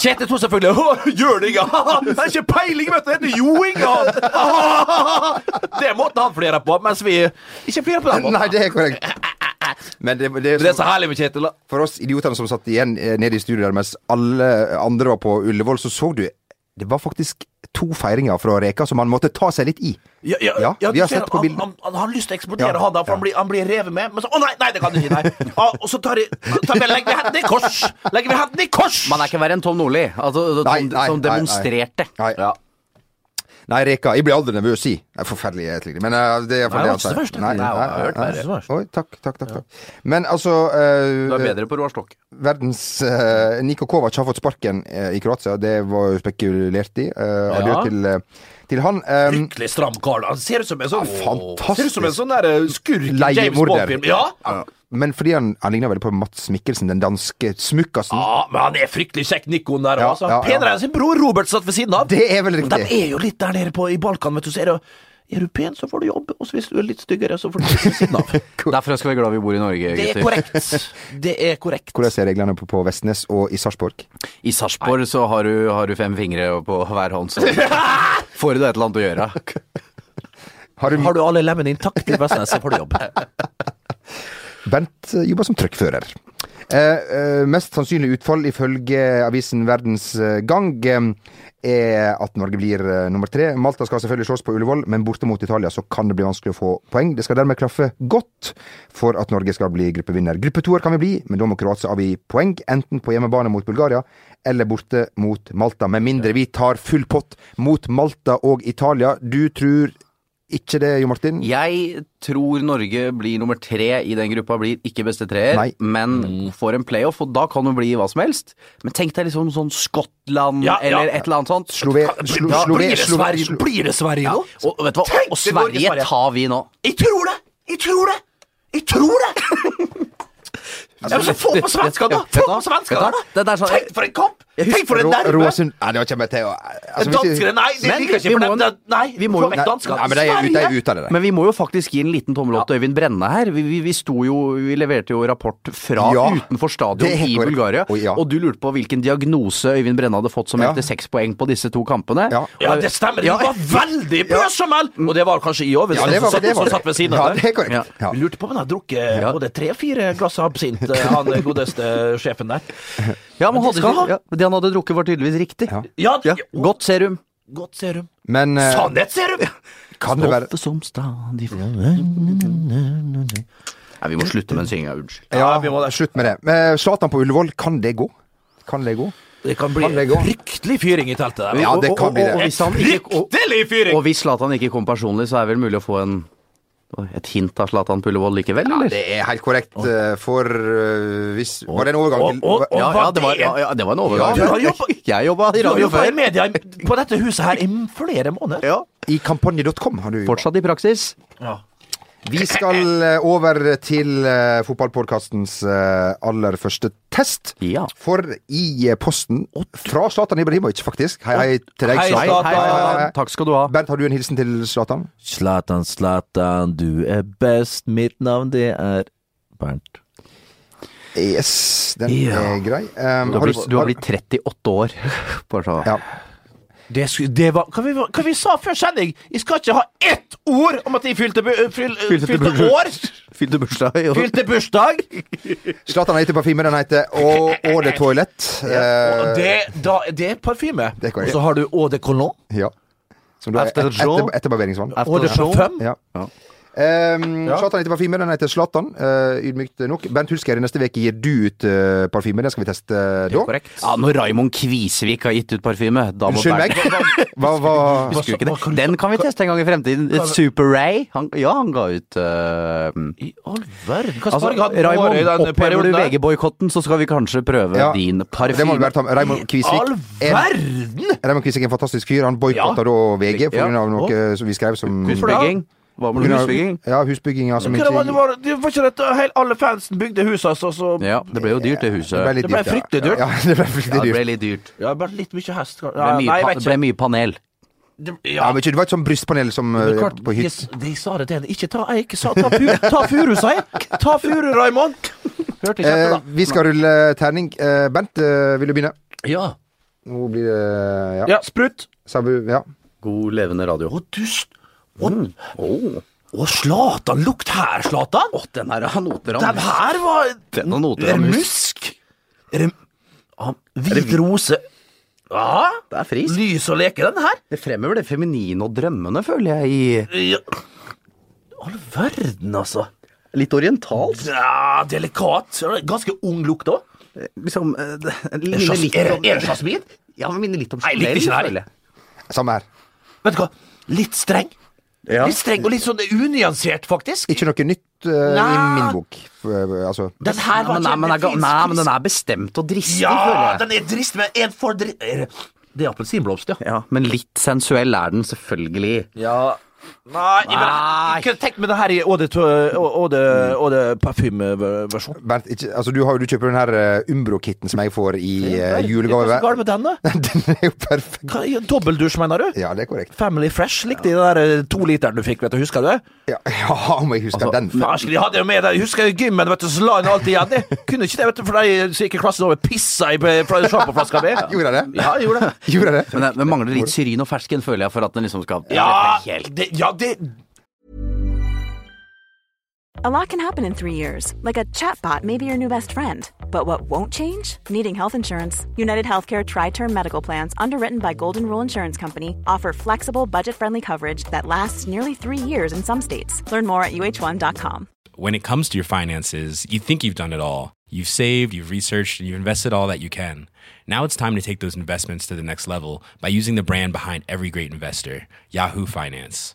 Speaker 3: Kjetil tror selvfølgelig Å, Jørning, ja! Han har ikke peiling, vet du! Det heter Jo Inge! han. Det måtte han flire på, mens vi ikke flirer på den måten.
Speaker 2: Nei, det er korrekt. Men det, det,
Speaker 3: Det er så herlig med Kjetil, da.
Speaker 2: for oss idiotene som satt igjen eh, nede i studio der mens alle andre var på Ullevål, så så du Det var faktisk to feiringer fra Reka som man måtte ta seg litt i.
Speaker 3: Ja, ja,
Speaker 2: Ja,
Speaker 3: ja,
Speaker 2: vi
Speaker 3: du
Speaker 2: har
Speaker 3: ser
Speaker 2: sett på
Speaker 3: han-
Speaker 2: bilden.
Speaker 3: Han, han, har lyst til å eksplodere,
Speaker 2: Ja,
Speaker 3: han da, for
Speaker 2: ja.
Speaker 3: han, blir, han blir revet med. Men så Å nei, nei, det kan du ikke! Nei. Ah, og så tar de, tar, vi- legger vi hendene i kors! Legger vi hendene i kors!
Speaker 4: Man er ikke verre enn Tom Nordli, altså,
Speaker 2: Nei,
Speaker 4: Tom,
Speaker 2: nei,
Speaker 4: som
Speaker 2: nei, nei.
Speaker 4: demonstrerte.
Speaker 2: Nei,
Speaker 4: Ja.
Speaker 2: nei Reka. Jeg blir aldri nervøs, i. Det er forferdelig, egentlig. Men eh, det er
Speaker 3: Nei,
Speaker 2: iallfall det han
Speaker 3: det var ikke
Speaker 2: sier.
Speaker 3: det verste. Nei, jeg har hørt verre. Det var verst.
Speaker 2: Oi, takk, takk, takk. takk. Men altså eh,
Speaker 4: Du er bedre på Roar Stokke.
Speaker 2: Verdens eh, Niko Kovac har fått sparken eh, i Kroatia. Det var jo spekulert i. Uh, Adjø
Speaker 3: Ja.
Speaker 2: til, eh, til han. Um,
Speaker 3: Fryktelig stram kar. da. Han ser ut som en sånn
Speaker 2: Ja, fantastisk.
Speaker 3: Ser ut som en sånn der eh, skurk i James
Speaker 2: Leiemorder.
Speaker 3: Bond-film. Ja.
Speaker 2: Ja. Men fordi han, han ligner veldig på Mats Mikkelsen, den danske smukkasen.
Speaker 3: ja, men han er fryktelig kjekk, Nikon der.
Speaker 2: Ja,
Speaker 3: altså.
Speaker 2: ja, ja.
Speaker 3: Penere enn sin bror Robert satt ved siden av.
Speaker 2: Det er vel
Speaker 3: Men de
Speaker 2: riktig.
Speaker 3: er jo litt der nede på, i Balkan, vet du. Så er, det, er du pen, så får du jobb. Og så hvis du er litt styggere, så får du sitte ved siden av.
Speaker 4: Derfor skal vi være glad vi bor i
Speaker 3: Det
Speaker 4: Norge,
Speaker 3: er
Speaker 4: gutter.
Speaker 3: korrekt. Det er korrekt.
Speaker 2: Hvordan er reglene på, på Vestnes og i Sarpsborg?
Speaker 4: I Sarpsborg så har du, har du fem fingre på hver hånd, så får du et eller annet å gjøre.
Speaker 2: Har du,
Speaker 3: Har du alle lemmene intakte i Vestnes, så får du jobb.
Speaker 2: Bent eh, jobber som trøkkfører. Eh, eh, mest sannsynlig utfall ifølge avisen Verdens eh, Gang eh, er at Norge blir eh, nummer tre. Malta skal selvfølgelig slås på Ullevål, men borte mot Italia så kan det bli vanskelig å få poeng. Det skal dermed klaffe godt for at Norge skal bli gruppevinner. Gruppe toer kan vi bli, men da må Kroatia avgi poeng, enten på hjemmebane mot Bulgaria eller borte mot Malta. Med mindre vi tar full pott mot Malta og Italia. Du tror ikke det, Jo Martin?
Speaker 4: Jeg tror Norge blir nummer tre i den gruppa, blir ikke beste treer,
Speaker 2: Nei.
Speaker 3: Mm.
Speaker 4: men får en playoff, og da kan det bli hva som helst. Men tenk deg liksom sånn Skottland
Speaker 3: Ja, ja.
Speaker 4: eller et eller annet sånt.
Speaker 2: Slove, slo,
Speaker 3: Ja,
Speaker 2: slove,
Speaker 3: blir det
Speaker 2: slove,
Speaker 3: Sverige,
Speaker 2: slo-
Speaker 3: blir det Sverige nå?
Speaker 4: Og, og vet du hva,
Speaker 3: Tenk
Speaker 4: og
Speaker 3: til Norge,
Speaker 4: Sverige
Speaker 3: Sverige.
Speaker 4: tar vi nå.
Speaker 3: Jeg tror det! Jeg tror det! Jeg tror det! Ja, men så få på svenskene, da! Få på svenskene, da!
Speaker 4: Det der sa-
Speaker 3: Tenk for en kamp!
Speaker 4: husker-
Speaker 3: Tenk for en
Speaker 2: sånn- Ro-
Speaker 3: nerve!
Speaker 2: Roasund Nei, det kommer jeg til å altså, hvis
Speaker 3: Danskene,
Speaker 2: jeg-
Speaker 3: nei! Det
Speaker 4: Men
Speaker 3: liker jeg
Speaker 4: vi
Speaker 3: ikke for
Speaker 4: må-
Speaker 3: dem. Det- Nei,
Speaker 4: vi må-
Speaker 3: få vekk
Speaker 2: Nei,
Speaker 3: danskene.
Speaker 2: nei, men de er ute- de er ute av det der.
Speaker 4: Men vi må jo faktisk gi en liten tommel opp til Øyvind Brenne her. Vi, vi, vi sto jo, vi leverte jo rapport fra
Speaker 2: Ja, det er
Speaker 4: utenfor stadion
Speaker 2: helt
Speaker 4: i
Speaker 2: korrekt.
Speaker 4: Bulgaria,
Speaker 2: Oi, ja.
Speaker 4: og du lurte på hvilken diagnose Øyvind Brenne hadde fått som
Speaker 2: Ja.
Speaker 4: etter seks poeng på disse to kampene.
Speaker 2: Ja. Mm.
Speaker 3: Ja, det stemmer. Du
Speaker 4: Ja.
Speaker 3: var veldig brødsommel! Og det var kanskje i òg, hvis
Speaker 2: Ja, det
Speaker 3: han
Speaker 2: var
Speaker 3: satt,
Speaker 2: det. Var,
Speaker 3: som satt ved siden av
Speaker 2: ja,
Speaker 3: deg.
Speaker 2: det er korrekt.
Speaker 4: Ja.
Speaker 2: Ja.
Speaker 3: Jeg Lurte på om han hadde drukket eh,
Speaker 4: Ja.
Speaker 3: både tre-fire glass absint, eh, han godeste eh, sjefen der.
Speaker 4: Ja, men
Speaker 3: Men det
Speaker 4: hadde ikke,
Speaker 3: skal
Speaker 4: ja, det han hadde drukket var tydeligvis riktig.
Speaker 2: Ja.
Speaker 3: Ja,
Speaker 4: Ja,
Speaker 3: jo,
Speaker 4: Godt serum.
Speaker 3: godt serum.
Speaker 2: Men eh,
Speaker 3: Sannhetsserum!
Speaker 2: kan det være
Speaker 4: Stoffet som stadig Nei, vi må slutte med den synginga, unnskyld.
Speaker 2: Ja,
Speaker 3: vi må det.
Speaker 2: slutt med det. Men eh, Zlatan på Ullevål, kan det gå? Kan det gå?
Speaker 3: Det kan bli
Speaker 2: Kan det gå?
Speaker 3: fryktelig fyring i teltet der.
Speaker 2: Ja, det kan bli det.
Speaker 4: Og hvis, han ikke, og,
Speaker 3: Fryktelig fyring!
Speaker 4: og hvis Zlatan ikke kom personlig, så er det vel mulig å få en, et hint av Zlatan på Ullevål likevel, eller?
Speaker 2: Det er helt korrekt, eh, for eh, hvis Var det en overgang til
Speaker 3: og- og-
Speaker 4: Ja, ja,
Speaker 3: var
Speaker 4: det var,
Speaker 3: det en-
Speaker 4: ja, ja, det var en overgang.
Speaker 3: Ja, du har jobbet-
Speaker 4: jeg jobba i
Speaker 3: Du har
Speaker 4: radio
Speaker 3: jobba i
Speaker 4: før.
Speaker 3: media i- på dette huset her i flere måneder.
Speaker 4: Ja.
Speaker 2: I kampanje.com har du
Speaker 4: Fortsatt i praksis.
Speaker 2: Vi skal eh, over til eh, fotballpodkastens eh, aller første test.
Speaker 4: Ja.
Speaker 2: For i eh, posten fra Zlatan Ibrahimovic, faktisk. Hei, hei til deg,
Speaker 3: Hei,
Speaker 4: Hei,
Speaker 2: Zlatan.
Speaker 4: hei, hei, hei. Takk skal du ha.
Speaker 2: Bernt, har du en hilsen til Zlatan?
Speaker 3: Slatan, Slatan, du er best. Mitt navn, det er Bernt.
Speaker 2: Yes, den
Speaker 3: Ja.
Speaker 2: er grei. Um,
Speaker 4: Du har blitt,
Speaker 2: s-
Speaker 4: du har blitt 38 år. Bare så.
Speaker 2: Ja.
Speaker 3: Det, sku- det var hva vi, var- hva vi sa før sending? Jeg skal ikke ha ett ord om at jeg fylte, bu- fyl, fylte, år!
Speaker 4: Fylte bursdag. i år.
Speaker 3: Fylte bursdag!
Speaker 2: Zlatan har gitt ut parfyme, den heter Au Au de Toilette.
Speaker 3: Og
Speaker 2: Eh,
Speaker 3: det, da, det er parfyme.
Speaker 2: Det er
Speaker 3: Og
Speaker 2: korrekt.
Speaker 3: så har du Eau de Cologne.
Speaker 2: ja. Som da er
Speaker 4: After the
Speaker 2: etter,
Speaker 4: show.
Speaker 2: etterbarberingsvann.
Speaker 4: After
Speaker 3: Eau de
Speaker 4: the show.
Speaker 3: Parfum.
Speaker 2: Ja.
Speaker 4: Ja.
Speaker 2: Ehm,
Speaker 3: Ja.
Speaker 2: Zlatan heter parfyme, den heter Zlatan. eh, ydmykt nok. Bernt Hulsker, i neste uke gir du ut eh, parfyme. Den skal vi teste eh, da.
Speaker 3: Korrekt.
Speaker 4: Ja, når Raimond Kvisvik har gitt ut parfyme, da må
Speaker 2: Unnskyld meg. Hva, hva,
Speaker 4: Husker du ikke det? Den kan vi teste en gang i fremtiden. Super Ray. Han, ja, han ga ut eh,
Speaker 3: I all verden! Hva altså,
Speaker 4: Altså,
Speaker 3: har jeg hatt
Speaker 4: Raimond,
Speaker 3: år i den
Speaker 4: opphever du
Speaker 3: perioden? der?
Speaker 4: VG-boikotten, så skal vi kanskje prøve
Speaker 2: Ja,
Speaker 4: din
Speaker 2: det må vi
Speaker 4: parfyme.
Speaker 2: bare ta med. Raymond
Speaker 3: All
Speaker 2: Kvisvik. En,
Speaker 3: verden!
Speaker 2: Raymond Kvisvik er en fantastisk fyr. Han boikotta
Speaker 4: Ja.
Speaker 2: da VG
Speaker 4: Ja.
Speaker 2: pga. av noe som vi skrev som
Speaker 4: Husbygging. Hva med husbygging?
Speaker 2: Ja, husbygginga som
Speaker 3: Hva det var, det
Speaker 2: ikke
Speaker 3: var, det var ikke dette hele- alle fansen bygde huset hans, og så
Speaker 4: Ja, det ble jo dyrt, det huset.
Speaker 2: litt
Speaker 3: Det ble
Speaker 2: ja.
Speaker 3: fryktelig dyrt.
Speaker 2: Ja, det ble fryktelig
Speaker 4: Ja, det
Speaker 2: dyrt.
Speaker 4: ble litt dyrt.
Speaker 3: Ja, bare litt mye hest. Ja,
Speaker 4: Det ble
Speaker 3: nei,
Speaker 4: mye,
Speaker 3: jeg
Speaker 4: pa
Speaker 3: vet
Speaker 4: det
Speaker 3: ikke.
Speaker 4: ble mye panel.
Speaker 3: Det-
Speaker 2: Ja,
Speaker 3: Ja,
Speaker 2: men ikke, det var ikke sånn brystpanel som eh,
Speaker 3: men klart,
Speaker 2: på
Speaker 3: de,
Speaker 2: hytta.
Speaker 3: de sa det til henne. Ikke ta eik, sa, ta, pu, ta furu, sa jeg! Ta furu, Raymond! Hørte ikke
Speaker 2: Eh,
Speaker 3: etter, da.
Speaker 2: vi skal rulle terning. Eh, Bent, eh, vil du begynne?
Speaker 3: Ja.
Speaker 2: Nå blir det Ja.
Speaker 3: ja sprut.
Speaker 2: Sabu, ja.
Speaker 4: God levende radio. Mm.
Speaker 3: Å, dust. Å, å, Slatan. Lukt her, Slatan.
Speaker 4: Den her har noter
Speaker 3: Den
Speaker 4: av
Speaker 3: her var
Speaker 4: Den har noter
Speaker 3: Er
Speaker 4: av
Speaker 3: det
Speaker 4: mus.
Speaker 3: musk? Er det ah, Hvit rose. Ja,
Speaker 4: Det er friskt.
Speaker 3: lys og leke, den her.
Speaker 4: Det fremhever det feminine og drømmende, føler jeg, i
Speaker 3: Ja. All verden, altså.
Speaker 4: Litt orientalsk.
Speaker 3: Ja, delikat. Ganske ung lukt òg.
Speaker 4: Liksom eh, det- det
Speaker 3: Er
Speaker 4: minner litt om
Speaker 3: det jasmin?
Speaker 4: Ja, det minner litt om
Speaker 3: Nei, likte
Speaker 4: Chanel,
Speaker 3: ikke det her.
Speaker 4: føler jeg.
Speaker 2: Samme her.
Speaker 3: Vet du hva? Litt streng.
Speaker 4: Ja.
Speaker 3: Litt streng og litt sånn unyansert, faktisk.
Speaker 2: Ikke noe nytt eh, i
Speaker 3: Nei.
Speaker 2: min bok. Eh, altså
Speaker 3: Den her
Speaker 4: Nei,
Speaker 3: var
Speaker 4: men, nei,
Speaker 3: ikke-
Speaker 4: men, den er ga-
Speaker 3: finsk-
Speaker 4: nei, men den er bestemt og dristig,
Speaker 3: Ja,
Speaker 4: føler jeg.
Speaker 3: den er drist, men en for drist Er det- Det er appelsinblomst, ja.
Speaker 4: Ja, men litt sensuell er den selvfølgelig.
Speaker 3: Ja Nei, jeg mener,
Speaker 4: Nei. Mm.
Speaker 3: jeg kunne tenkt meg det her i Åde parfymeversjon.
Speaker 2: Bernt, ikke, altså du, har, jo- du kjøper den her eh, Umbro-kitten som jeg får i eh,
Speaker 3: Hva er
Speaker 2: julegave.
Speaker 3: galt med den, da?
Speaker 2: Den er jo perfekt.
Speaker 3: Hva- Dobbeldusj, mener du?
Speaker 2: Ja, det er korrekt.
Speaker 3: Family Fresh likte de den der eh, to literen du fikk, vet du. Husker du det?
Speaker 2: Ja, ja om jeg husker den.
Speaker 3: Farsken, de hadde jo med det. Jeg Husker jeg gymmen, vet du, så la han alltid igjen det. Kunne ikke det, vet du, for de som gikk i klassen over pissa i eh, fra sjampoflaska mi.
Speaker 2: Gjorde jeg det?
Speaker 3: Ja, jeg gjorde det.
Speaker 2: Gjorde jeg det?
Speaker 4: Men den mangler litt syrin og fersken, føler jeg, for at den liksom skal
Speaker 3: Ja,
Speaker 4: Det er helt-
Speaker 3: det, ja, det
Speaker 6: A lot can happen in three years, like a chatbot may be your new best friend. But what won't change? Needing health insurance. United Healthcare Tri Term Medical Plans, underwritten by Golden Rule Insurance Company, offer flexible, budget friendly coverage that lasts nearly three years in some states. Learn more at uh1.com.
Speaker 7: when it comes to your finances, you think you've done it all. You've saved, you've researched, and you've invested all that you can. Now it's time to take those investments to the next level by using the brand behind every great investor, Yahoo Finance.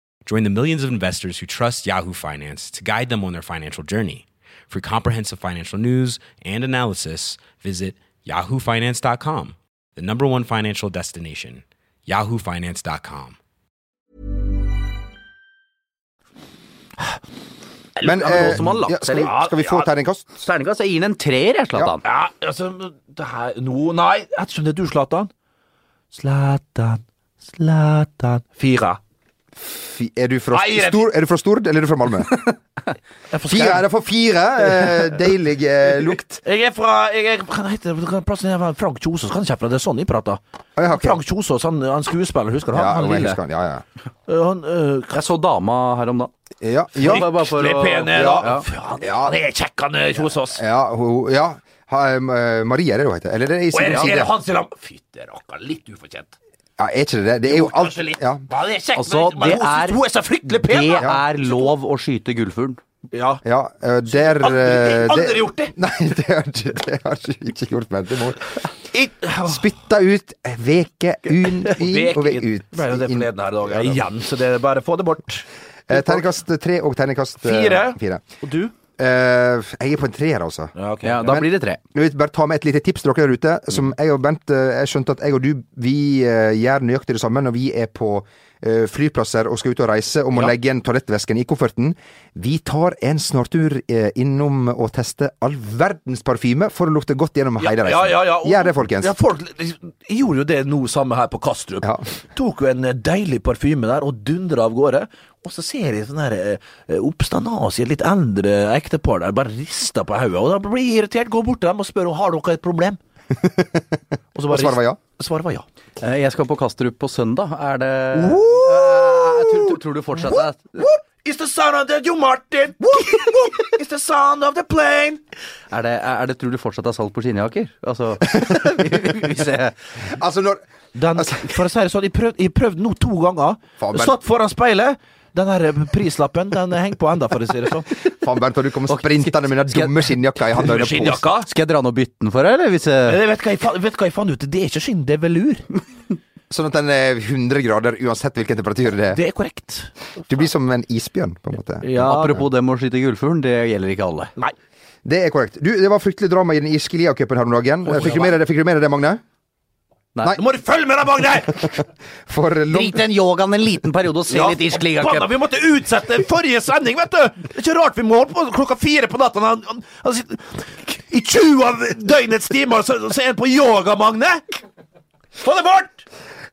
Speaker 7: Join the millions of investors who trust Yahoo Finance to guide them on their financial journey. For comprehensive financial news and analysis, visit yahoofinance.com, the number one financial destination, yahoofinance.com.
Speaker 2: Men
Speaker 4: Ja, nå som han
Speaker 2: eh, ja,
Speaker 4: har lagt
Speaker 2: skal,
Speaker 4: seg
Speaker 2: vi,
Speaker 4: litt.
Speaker 2: skal vi få terningkast?
Speaker 4: Terningkast, jeg gir den en treer, jeg, Zlatan.
Speaker 3: Ja, altså, det her Nå, nei. Ettersom det er du, Zlatan. Zlatan, Zlatan Fire.
Speaker 2: fi- Er du fra,
Speaker 3: Nei, jeg-
Speaker 2: Stor, er du fra Stord, eller er du fra Malmö? Fire er det for fire. Eh, deilig eh, lukt.
Speaker 3: Jeg er fra jeg er, Hva heter det? Hva- Plassen jeg var Frank Kjosås. Kan ikke jeg fra det er sånn jeg prater.
Speaker 2: Ah, ja, ok.
Speaker 3: Frank Kjosås, han, han skuespiller, husker du han?
Speaker 2: Ja,
Speaker 3: han
Speaker 2: jo, jeg
Speaker 3: lille.
Speaker 2: husker han. Ja, ja.
Speaker 3: Eh, han, eh, hva-
Speaker 4: Jeg så dama her om dagen.
Speaker 2: Ja, ja,
Speaker 4: Bare- bare for
Speaker 3: Litt
Speaker 4: å-
Speaker 3: pen er
Speaker 4: Ja,
Speaker 3: da.
Speaker 4: ja.
Speaker 3: Faen, han er kjekk, han eh, Kjosås.
Speaker 2: ja, ho, ja. Ha, eh, Marie er det hun heter. Eller er det i
Speaker 3: Og
Speaker 2: Sigrid
Speaker 3: er det, er
Speaker 2: Side?
Speaker 3: det han som lam- Fytte rakkeren, litt ufortjent.
Speaker 2: Ja, er ikke det det? Det er jo alt
Speaker 3: Kanskje litt.
Speaker 2: ja.
Speaker 3: Han er kjekk,
Speaker 4: Altså,
Speaker 3: men- men
Speaker 4: det
Speaker 3: hun synes
Speaker 4: er-
Speaker 3: hun er så fryktelig pen!
Speaker 4: Det
Speaker 3: da.
Speaker 4: er lov å skyte gullfuglen.
Speaker 3: Ja.
Speaker 2: Ja, eh, der eh,
Speaker 3: Aldri- aldri
Speaker 2: det-
Speaker 3: gjort det.
Speaker 2: Nei, det har ikke, det har ikke- ikke gjort meg til mor.
Speaker 3: I-
Speaker 2: Spytta ut eh, veke un, inn og vek ut.
Speaker 3: Ble jo det
Speaker 2: Inn.
Speaker 3: forleden her i dag. ja, Igjen, så det er bare å få det bort.
Speaker 2: Eh, Terningkast tre og terningkast eh,
Speaker 3: Fire.
Speaker 2: fire.
Speaker 3: Og du?
Speaker 2: Eh, jeg er på en treer, altså.
Speaker 3: Ja, ok.
Speaker 4: Ja, da blir det tre.
Speaker 2: Jeg vil bare ta med et lite tips til dere der ute.
Speaker 3: Mm.
Speaker 2: Som jeg og Bent eh, Jeg skjønte at jeg og du Vi eh, gjør nøyaktig det samme når vi er på eh, flyplasser og skal ut og reise og må legge igjen toalettvesken i kofferten. Vi tar en snartur eh, innom og tester all verdens parfyme for å lukte godt gjennom hele reisen.
Speaker 3: Ja, ja, ja. og-
Speaker 2: Gjør det, folkens.
Speaker 3: Ja, folk jeg gjorde jo det nå samme her på Kastrup.
Speaker 2: Ja.
Speaker 3: Tok jo en eh, deilig parfyme der og dundra av gårde. Og så ser jeg sånne her, eh, oppstandasige, litt eldre ektepar der bare rister på hodet. Og da blir jeg irritert, går bort til dem og spør om har dere et problem. og så
Speaker 2: Og svaret var ja.
Speaker 3: rist- Svaret var ja.
Speaker 4: Eh, Jeg skal på Kastrup på søndag. Er det Eh, tror, tror du fortsetter?
Speaker 3: It's the sound of the Jo Martin! It's the sound of the plane!
Speaker 4: Er det, er det tror du fortsatt er salg på skinnjakker? Altså Hvis jeg
Speaker 2: Altså, når
Speaker 3: Den, for å si det sånn, jeg prøvde, jeg prøvde nå to ganger.
Speaker 2: Faen, men-
Speaker 3: Satt foran speilet. Den her eh, prislappen den henger på enda, for å si det sånn.
Speaker 2: Faen, Bernt, og du kommer sprintende med den
Speaker 4: Skal jeg-
Speaker 2: dumme skinnjakka i handa. under posen.
Speaker 3: Skinnjakka?
Speaker 4: Skal jeg dra ned og bytte den for deg, eller? Hvis
Speaker 3: Men jeg
Speaker 4: jeg,
Speaker 3: Eh, vet, hva jeg fa- vet hva jeg fant ut? Det er ikke skinn, det er velur.
Speaker 2: Sånn at den er 100 grader uansett hvilken temperatur det er.
Speaker 3: Det er korrekt.
Speaker 2: Du blir som en isbjørn, på en måte.
Speaker 4: Apropos det med å skyte gullfuglen, det gjelder ikke alle.
Speaker 3: Nei.
Speaker 2: Det er korrekt. Du, det var fryktelig drama i den irske Lia-cupen her om dagen. Fikk du med deg det, fikk du med deg det Magne?
Speaker 3: Nå må du følge med deg, Magne!
Speaker 2: For long...
Speaker 4: Drit i den yogaen en liten periode og se
Speaker 3: Ja,
Speaker 4: litt irsk ligacup.
Speaker 3: forbanna, Vi måtte utsette forrige sending, vet du! Det er ikke rart vi må holde på klokka fire på natta. Han, han, han sitter i 20 av døgnets timer, så, så er han på yoga, Magne! Få det bort!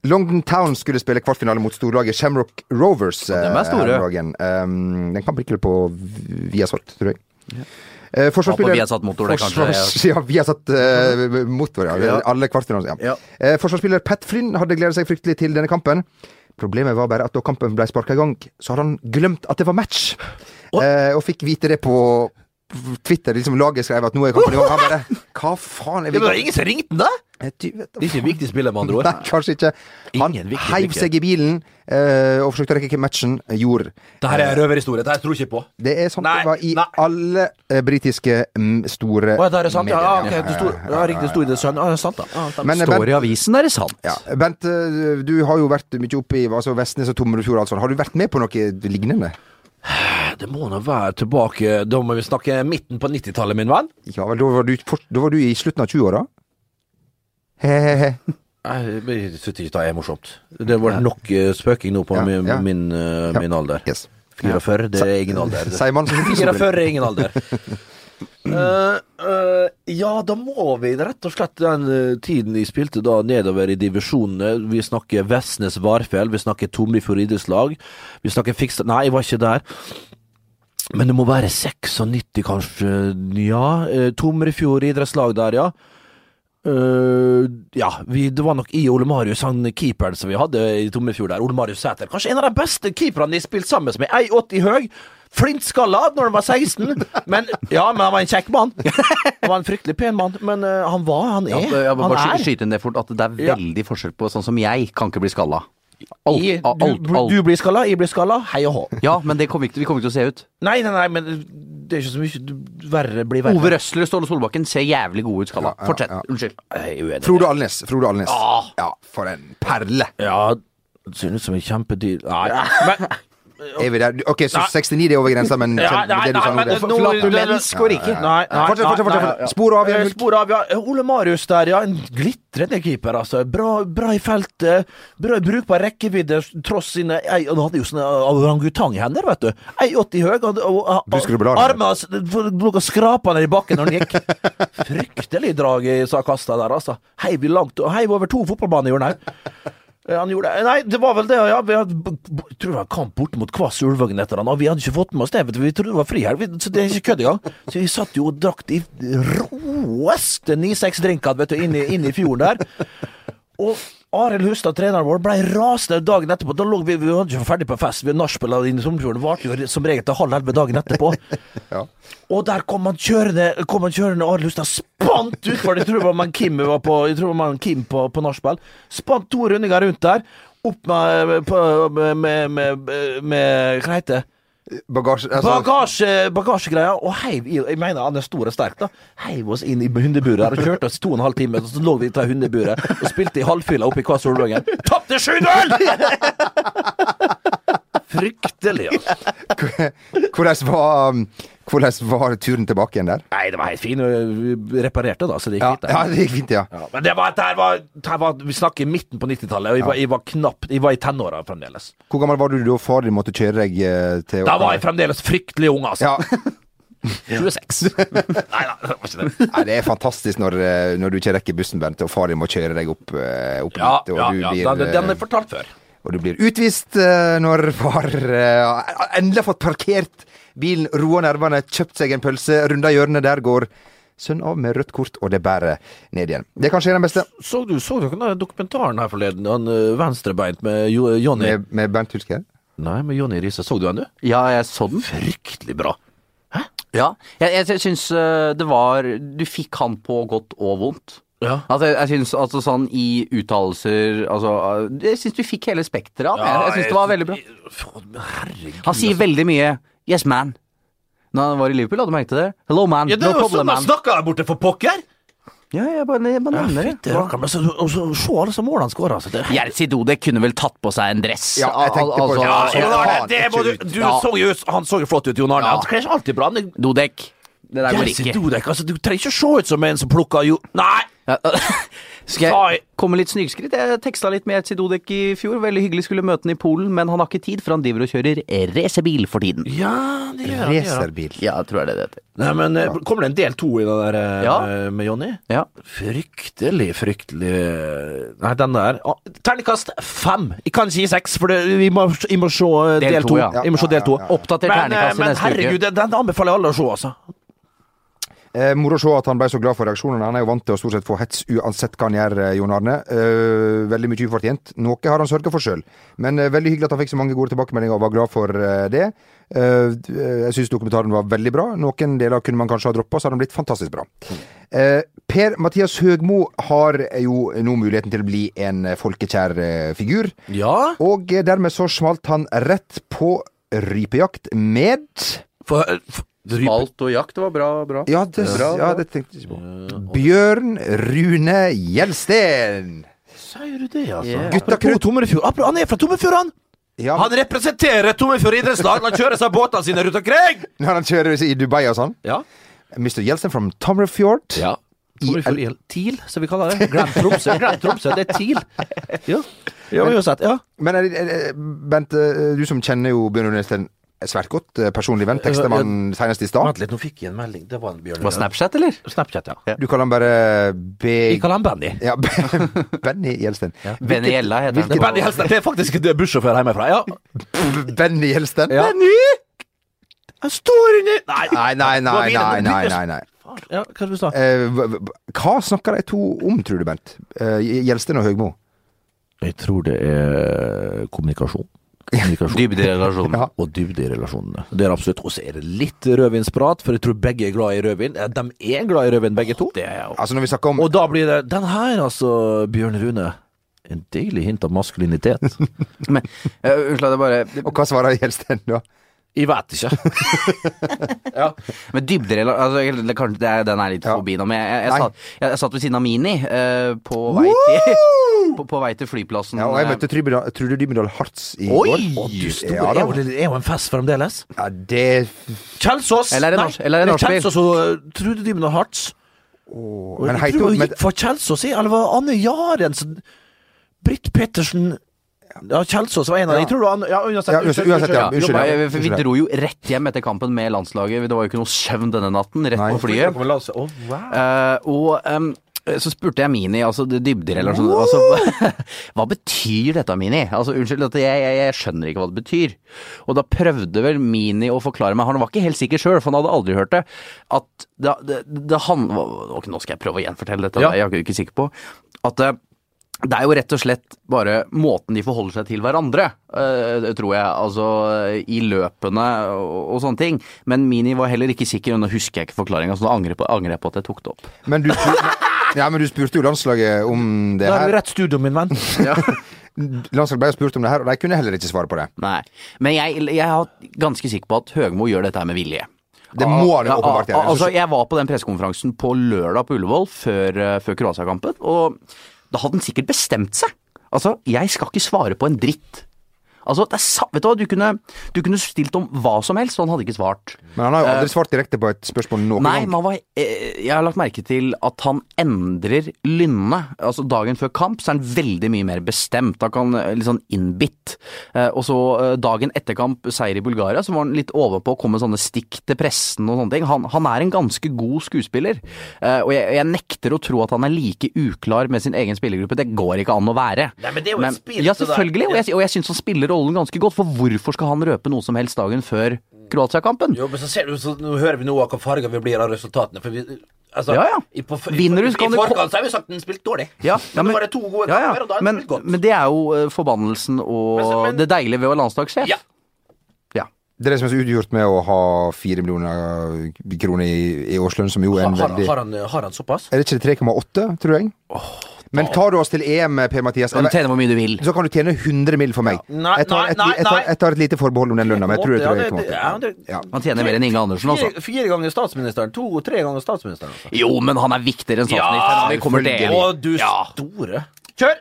Speaker 2: London Town skulle spille kvartfinale mot storlaget Shamrock Rovers.
Speaker 4: dem er
Speaker 2: eh,
Speaker 4: store.
Speaker 2: her om dagen. Um, den kan bli klippet på Viasat, tror jeg. Eh,
Speaker 4: Ja,
Speaker 2: forsvarsspiller
Speaker 4: på Viasat Motor, det kanskje,
Speaker 2: Forsvars- Ja, Viasat eh, Motor, ja. Alle kvartfinaler. Ja. Eh, forsvarsspiller Pat Flynn hadde gleda seg fryktelig til denne kampen. Problemet var bare at da kampen ble sparka i gang, så hadde han glemt at det var match. Eh, og fikk vite det på Twitter. liksom Laget skrev at nå er kampen i gang. Han bare Hva faen er
Speaker 3: Ja,
Speaker 2: vi
Speaker 3: men det er ingen som ringte den, da?
Speaker 2: Eh, du vet da
Speaker 3: Det er ikke en viktig spiller, med andre ord.
Speaker 2: Nei, kanskje ikke. Han
Speaker 3: Ingen viktig
Speaker 2: heiv
Speaker 3: brikke.
Speaker 2: seg i bilen eh, og forsøkte å rekke matchen. Gjorde. Eh,
Speaker 3: Dette er røverhistorie. Dette tror jeg ikke på.
Speaker 2: Det er sånn
Speaker 3: Nei,
Speaker 2: det var i
Speaker 3: nei.
Speaker 2: alle eh, britiske mm, store
Speaker 3: Å, ja, det er sant. Ja, ja, ok,
Speaker 2: medier.
Speaker 3: det sto, ja, riktig sto i det sønn. Ja, det er sant, da. Ja, sant.
Speaker 2: Men, eh,
Speaker 4: Står
Speaker 2: Bent,
Speaker 4: i avisen, er det sant?
Speaker 2: ja. Bent, eh, du har jo vært mye oppe i altså Vestnes og Tomrefjord og alt sånt. Har du vært med på noe lignende?
Speaker 3: Eh, Det må nå være tilbake Da må vi snakke midten på 90-tallet, min venn.
Speaker 2: Ja vel, da var du, fort, da var du i slutten av 20-åra? He-he-he.
Speaker 3: Jeg syns ikke det er morsomt. Det har vært nok eh, spøking nå på
Speaker 2: Ja,
Speaker 3: min,
Speaker 2: ja.
Speaker 3: min, eh, min alder.
Speaker 2: Yes.
Speaker 3: 44, det er ingen alder.
Speaker 2: Sier man som
Speaker 3: 44 er ingen alder. Eh, eh, ja, da må vi rett og slett den eh, tiden vi spilte da nedover i divisjonene. Vi snakker Vestnes Varfjell, vi snakker Tomrefjord idrettslag. Vi snakker Fikstad Nei, jeg var ikke der. Men det må være 96, kanskje. Ja. eh, Tomrefjord idrettslag der, ja. Eh, ja, vi, det var nok i Ole Marius, han keeperen som vi hadde i Tomrefjord der. Ole Marius Sæter. Kanskje en av de beste keeperne jeg har spilt sammen med. 1,80 høy. Flintskalla når han var 16. Men ja, men han var en kjekk mann. Han var en fryktelig pen mann. Men eh, han var, han
Speaker 4: Ja,
Speaker 3: er.
Speaker 4: jeg vil
Speaker 3: han
Speaker 4: bare sky-
Speaker 3: er.
Speaker 4: skyte inn det fort, at det er
Speaker 3: Ja.
Speaker 4: veldig forskjell på sånn som jeg kan ikke bli skalla. Alt,
Speaker 3: I,
Speaker 4: alt,
Speaker 3: du,
Speaker 4: alt.
Speaker 3: du blir skalla, jeg blir skalla. Hei og hå.
Speaker 4: Ja, men det kommer vi ikke, vi kommer ikke til å se ut.
Speaker 3: Nei, nei, nei, men det er ikke så mye du- Verre blir verre.
Speaker 4: Ove Røsler og Ståle Solbakken ser jævlig gode ut skalla.
Speaker 2: Ja, ja,
Speaker 4: Fortsett.
Speaker 2: ja.
Speaker 4: Unnskyld.
Speaker 3: Jeg er uenig.
Speaker 2: Frode Alnes. Frode Alnes.
Speaker 3: Ah.
Speaker 2: Ja, for en perle.
Speaker 3: Ja, det ser ut som en kjempedyr Nei. Men,
Speaker 2: Er vi der? Ok, så
Speaker 3: Nei.
Speaker 2: 69 det er over grensa, men
Speaker 3: Ja,
Speaker 2: kjenner- det du sa nå, det-
Speaker 4: nå- Flatulens går ikke.
Speaker 3: Nei, nei,
Speaker 2: Fortsett,
Speaker 3: nei,
Speaker 2: fortsett,
Speaker 3: nei,
Speaker 2: fortsett.
Speaker 3: ja.
Speaker 2: Spor av,
Speaker 3: Eh,
Speaker 2: Jan Hulk.
Speaker 3: Spor av, ja. Ole Marius der, ja. En glitrende keeper, altså. Bra, bra i feltet. Bra brukbar rekkevidde, tross sine ei, Han hadde jo sånne orangutanghender, vet du. 1,80 høy. Og, og, og,
Speaker 2: Du skulle bla den.
Speaker 3: armene hans for- lå og skrapa ned i bakken når han gikk. Fryktelig drag i Sakasta der, altså. Heiv i langt, heiv over to fotballbaner gjorde han her. Eh, Han gjorde det. Nei, det var vel det, ja. Vi hadde, b- b- tror det var kamp borte mot Kvass Ulvågen etter han, og vi hadde ikke fått med oss det. Vet du. Vi trodde det var frihelg, vi- så det er ikke kødd engang. Så vi satt jo og drakk de råeste 9-6 drinkene vet du, inn i, inn i fjorden der. Og Arild Hustad, treneren vår, blei rasende dagen etterpå. Da lå vi, vi var ikke ferdig på fest, vi nachspiela inne i Sommerfjorden. Varte jo som regel til halv elleve dagen etterpå.
Speaker 2: Ja.
Speaker 3: Og der kom han kjørende, kom han kjørende og Arild Hustad spant utfor! Jeg tror det var man Kim var på, jeg tror det var man Kim på, på nachspiel. Spant to rundinger rundt der. Opp med på, med, med, med, med Hva heter det?
Speaker 2: Bagasje altså,
Speaker 3: Bagasje, bagasjegreia, og heiv i Jeg mener han er stor og sterk, da. Heiv oss inn i hundeburet her og kjørte oss to og en halv time, og så lå vi i det hundeburet og spilte i halvfylla oppe i Kvass Solvågen. Tapte 7-0! Fryktelig, altså.
Speaker 2: Hvordan var, um, hvordan var turen tilbake igjen der?
Speaker 3: Nei, det var helt fint. Vi reparerte, da, så det gikk
Speaker 2: Ja,
Speaker 3: fint. det.
Speaker 2: ja det gikk fint, ja.
Speaker 3: Ja, men det var, det her var, det her var, vi snakker midten på 90-tallet, og jeg var, jeg var knapt Jeg var i tenåra fremdeles.
Speaker 2: Hvor gammel var du da far din måtte kjøre deg eh, til
Speaker 3: Da var jeg fremdeles fryktelig ung, altså.
Speaker 2: Ja,
Speaker 3: 26. Nei da, det var ikke det.
Speaker 2: Nei, det er fantastisk når, eh, når du ikke rekker bussen, Bent, og far din må kjøre deg opp, eh, opp
Speaker 3: Ja,
Speaker 2: dit, og,
Speaker 3: ja,
Speaker 2: du
Speaker 3: ja.
Speaker 2: blir,
Speaker 3: Den,
Speaker 2: eh,
Speaker 3: den er fortalt før.
Speaker 2: og du blir utvist eh, når far eh, endelig har fått parkert bilen, roa nervene, kjøpt seg en pølse, runda hjørnet, der går sønn av med rødt kort, og det bærer ned igjen. Det kan skje den beste
Speaker 3: Så du så dere den dokumentaren her forleden? Han ø, venstrebeint med jo, eh, Jonny
Speaker 2: med, med Bernt Hulsker.
Speaker 3: Nei, med Jonny Riise. Så du han, du?
Speaker 4: Ja, jeg så den.
Speaker 3: Fryktelig bra.
Speaker 4: Ja. Jeg, jeg, jeg syns eh, det var Du fikk han på godt og vondt.
Speaker 3: Ja.
Speaker 4: Altså, jeg, jeg synes, altså sånn i uttalelser altså, eh, Jeg syns du fikk hele spekteret av det. jeg syns det var veldig bra.
Speaker 3: Herregud. altså.
Speaker 4: Han sier veldig mye 'yes, man'. Når han var i Liverpool, hadde du merket det? Hello, man.
Speaker 3: ja, det
Speaker 4: no
Speaker 3: er jo
Speaker 4: problem,
Speaker 3: sånn han
Speaker 4: man.
Speaker 3: snakker der borte, for pokker!
Speaker 4: Ja, jeg bare, jeg bare nevner
Speaker 3: Fytti
Speaker 4: det.
Speaker 3: rakkeren, men så- og så- Se alle som målene han skårer, altså. Det er
Speaker 4: Jerzy Dode kunne vel tatt på seg en dress.
Speaker 2: Ja, jeg tenkte på
Speaker 4: sånn-
Speaker 2: det.
Speaker 3: Ja,
Speaker 2: Ja,
Speaker 3: Jon
Speaker 2: ja,
Speaker 3: Arne, det
Speaker 2: det
Speaker 3: må
Speaker 2: ser
Speaker 3: du,
Speaker 2: ut.
Speaker 3: du
Speaker 4: Ja.
Speaker 3: så jo ut Han så jo flott ut, Jon Arne.
Speaker 4: Ja.
Speaker 3: Han kler seg alltid bra. Han er
Speaker 4: Dodek. Det der går
Speaker 3: Jesse
Speaker 4: ikke.
Speaker 3: Dudek, altså, du trenger ikke se ut som en som plukker jo Nei!
Speaker 4: Ja, Skal
Speaker 3: Sorry.
Speaker 4: jeg komme litt snygskritt? Jeg teksta litt med Etsi Dodek i fjor. Veldig hyggelig skulle møte han i Polen, men han har ikke tid, for han driver og kjører racerbil for tiden.
Speaker 3: Ja, det gjør han, det gjør han.
Speaker 2: Racerbil.
Speaker 4: Ja, tror jeg det det heter.
Speaker 3: Nei, men eh, Kommer det en del to i den der eh,
Speaker 4: Ja.
Speaker 3: med Jonny?
Speaker 4: Ja.
Speaker 3: Fryktelig, fryktelig Nei, den der ah, Terningkast fem! Jeg kan ikke gi seks, for det, vi må, jeg må se eh,
Speaker 4: Del
Speaker 3: del
Speaker 4: to,
Speaker 3: to.
Speaker 4: ja.
Speaker 3: Jeg må se del to.
Speaker 4: Oppdater
Speaker 3: Men, eh,
Speaker 4: terningkast i
Speaker 3: men
Speaker 4: neste
Speaker 3: herregud, den,
Speaker 4: uke.
Speaker 3: den anbefaler jeg alle å se, altså.
Speaker 2: Eh, moro å se at han ble så glad for reaksjonene. Han er jo vant til å stort sett få hets uansett hva han gjør, eh, Jon Arne. Eh, veldig mye ufortjent. Noe har han sørga for sjøl, men eh, veldig hyggelig at han fikk så mange gode tilbakemeldinger og var glad for eh, det. Eh, d- eh, jeg syns dokumentaren var veldig bra. Noen deler kunne man kanskje ha droppa, så hadde den blitt fantastisk bra. Eh, per Mathias Høgmo har jo nå muligheten til å bli en eh, folkekjær eh, figur,
Speaker 3: Ja,
Speaker 2: og eh, dermed så smalt han rett på rypejakt med
Speaker 3: for, eh, for
Speaker 4: Alt og jakt var bra. bra.
Speaker 2: ja, det,
Speaker 4: Bra,
Speaker 2: ja,
Speaker 4: bra.
Speaker 2: det tenkte jeg ikke på. Bjørn Rune Gjelsten.
Speaker 3: Sier du det, altså?
Speaker 4: Yeah.
Speaker 2: Gutta
Speaker 3: Apropos Tomrefjord. Apro- Han er fra Tomrefjord, han!
Speaker 2: Ja,
Speaker 3: Han representerer Tomrefjord idrettslag! Han kjører seg båtene sine rundt omkring!
Speaker 2: når han kjører i Dubai og sånn.
Speaker 3: Ja.
Speaker 2: Mr. Gjelsten from Tomrefjord.
Speaker 3: ja.
Speaker 2: Tomrefjord
Speaker 3: TIL, som vi kaller det. Glem Tromsø, glem Tromsø. Det er TIL. Ja, ja men uansett. Ja.
Speaker 2: Men er det- er det- Bent, eh, du som kjenner jo Bjørn Rune Gjelsten svært godt, eh, personlig venn, tekstemann senest i stad.
Speaker 3: Vent litt, nå fikk jeg en melding. Det var en Bjørn.
Speaker 4: Var Snapchat, eller?
Speaker 3: Snapchat, ja.
Speaker 2: Du kaller han bare B...
Speaker 3: Vi kaller han Benny.
Speaker 2: Ja, Benny Gjelsten.
Speaker 4: Benny Gjella heter han.
Speaker 3: Benny Helsen. Det er faktisk det er bussjåfør hjemmefra. Ja.
Speaker 2: Benny Gjelsten?
Speaker 3: Ja.
Speaker 2: Benny!
Speaker 3: Han står under Nei,
Speaker 2: Nei, nei, nei, nei, nei, nei, nei.
Speaker 3: Faen, Ja, hva sa du? sa?
Speaker 2: Eh, hva- Hva snakker de to om, tror du, Bent? Eh, Gjelsten og Høgmo?
Speaker 3: Jeg tror det er kommunikasjon. Kommunikasjon.
Speaker 4: Dybde i relasjonen.
Speaker 2: Ja.
Speaker 3: og dybde i relasjonene. Det er absolutt. Og så er det litt rødvinsprat, for jeg tror begge er glad i rødvin. Eh, De er glad i rødvin, begge to. Det er jeg
Speaker 2: Altså, når vi snakker om
Speaker 3: Og da blir det Den her, altså, Bjørn Rune. En deilig hint av maskulinitet.
Speaker 4: Men, eh, unnskyld, jeg bare
Speaker 2: Og hva svarer Gjelsten da?
Speaker 3: Jeg vet ikke. ja.
Speaker 4: Men dybderela... Altså, jeg- det, kanskje, det er, den er litt
Speaker 2: Ja.
Speaker 4: forbi nå, men jeg, jeg, jeg,
Speaker 2: Nei.
Speaker 4: satt, jeg, jeg satt ved siden av Mini eh, på, vei til, på, på vei til flyplassen.
Speaker 2: Ja, og jeg
Speaker 4: eh,
Speaker 2: møtte Trybydal- Trude Dybendal Hartz i
Speaker 3: Oi!
Speaker 2: går.
Speaker 3: Å, du store,
Speaker 2: Ja,
Speaker 3: er,
Speaker 2: da.
Speaker 3: jo, det er jo en fest fremdeles.
Speaker 2: Ja, det
Speaker 3: Kjelsås!
Speaker 4: Eller er det norsk- eller er det norsk bil?
Speaker 3: Kjelsås og uh, Trude Dybden og Hartz.
Speaker 2: men
Speaker 3: jeg
Speaker 2: heter hun-
Speaker 3: tror hun
Speaker 2: men-
Speaker 3: gikk for Kjelsås, i, eller var Anne Jarensen Britt Pettersen Ja, Kjelsås var en av dem. Jeg tror det var Anne Ja, uansett.
Speaker 2: Ja, uansett, uansett, ja. Unnskyld,
Speaker 4: Nei,
Speaker 2: ja.
Speaker 4: vi- vi, vi dro jo rett hjem etter kampen med landslaget. Det var jo ikke noe søvn denne natten, rett
Speaker 2: Nei.
Speaker 4: på flyet.
Speaker 3: Å, wow.
Speaker 4: Eh, og em, så spurte jeg Mini, altså det dybder eller noe sånt. Altså, hva betyr dette, Mini? Altså, unnskyld, dette, jeg, jeg, jeg skjønner ikke hva det betyr. Og da prøvde vel Mini å forklare meg, han var ikke helt sikker sjøl, for han hadde aldri hørt det, at det, det, det han Ok, nå skal jeg prøve å gjenfortelle dette,
Speaker 3: Ja.
Speaker 4: da, jeg er ikke sikker på. At eh, det er jo rett og slett bare måten de forholder seg til hverandre, eh, tror jeg, altså i løpene og, og sånne ting. Men Mini var heller ikke sikker, og nå husker jeg ikke forklaringa, så nå angrer jeg på, angrer jeg på at jeg tok det opp.
Speaker 2: Men du, spur- ja, men du spurte jo landslaget om det
Speaker 3: Da er
Speaker 2: her.
Speaker 3: du rett studio, min venn.
Speaker 2: Landslaget ble jo spurt om det her, og de kunne heller ikke svare på det.
Speaker 4: Nei. Men jeg, jeg er ganske sikker på at Høgmo gjør dette her med vilje.
Speaker 2: Det må han jo
Speaker 4: Ah, Ja,
Speaker 2: åpenbart
Speaker 4: ja,
Speaker 2: gjøre.
Speaker 4: Altså, jeg var på den pressekonferansen på lørdag på Ullevål før, eh, før Kroatia-kampen, og da hadde han sikkert bestemt seg. Altså, jeg skal ikke svare på en dritt. Altså, det er, sa- vet du hva, du kunne, du kunne stilt om hva som helst, og han hadde ikke svart.
Speaker 2: Men han har jo aldri svart direkte på et spørsmål noen
Speaker 4: Nei,
Speaker 2: gang.
Speaker 4: man var, eh, jeg har lagt merke til at han endrer lynne. Altså Dagen før kamp så er han veldig mye mer bestemt. Da kan eh, litt sånn innbitt. Eh, og så eh, dagen etter kamp, seier i Bulgaria, så var han litt ovenpå å komme med sånne stikk til pressen og sånne ting. Han, han er en ganske god skuespiller. Eh, og jeg, jeg nekter å tro at han er like uklar med sin egen spillergruppe. Det går ikke an å være.
Speaker 3: Nei, men det er jo et spill,
Speaker 4: Ja,
Speaker 3: så det er-
Speaker 4: selvfølgelig. Og jeg, og jeg syns han spiller rollen ganske godt. For hvorfor skal han røpe noe som helst dagen før Kroatia-kampen?
Speaker 3: Jo, men så ser du, så nå hører vi nå hva farger vi blir av resultatene. For vi, altså,
Speaker 4: Ja, ja.
Speaker 3: I, på,
Speaker 4: Vinner du,
Speaker 3: i,
Speaker 4: så kan
Speaker 3: i
Speaker 4: du-
Speaker 3: forkant så har vi sagt den spilte dårlig.
Speaker 4: Ja, ja,
Speaker 3: men nå var det to gode
Speaker 4: ja, ja,
Speaker 3: kamper, og da har den
Speaker 4: men,
Speaker 3: spilt godt.
Speaker 4: men det er jo eh, forbannelsen og
Speaker 3: Men så- men-
Speaker 4: det deilige ved å være landslagssjef.
Speaker 3: Ja.
Speaker 4: Ja.
Speaker 2: Det er det som er så utgjort med å ha fire millioner kroner i, i årslønn, som jo er
Speaker 3: har,
Speaker 2: en
Speaker 3: har,
Speaker 2: veldig
Speaker 3: har, han, har han såpass?
Speaker 2: Er det ikke det 3,8, tror jeg? Men tar du oss til EM, Per-Mathias,
Speaker 4: Kan du tjene hvor mye du vil.
Speaker 2: så kan du tjene 100 mill. for meg.
Speaker 3: Nei,
Speaker 2: jeg, tar
Speaker 3: nei,
Speaker 2: et, li- jeg, tar,
Speaker 3: nei.
Speaker 2: jeg tar et lite forbehold om den lønna, men jeg tror det
Speaker 3: Ja,
Speaker 2: er
Speaker 3: det-
Speaker 2: 3,8.
Speaker 3: ja, det-
Speaker 2: Ja.
Speaker 4: Han tjener mer enn Inge Andersen, altså.
Speaker 3: Fire, fire ganger statsministeren. To-tre ganger statsministeren. Altså.
Speaker 4: Jo, men han er viktigere enn statsministeren. når vi kommer til EM.
Speaker 3: Å, du
Speaker 4: ja.
Speaker 3: store.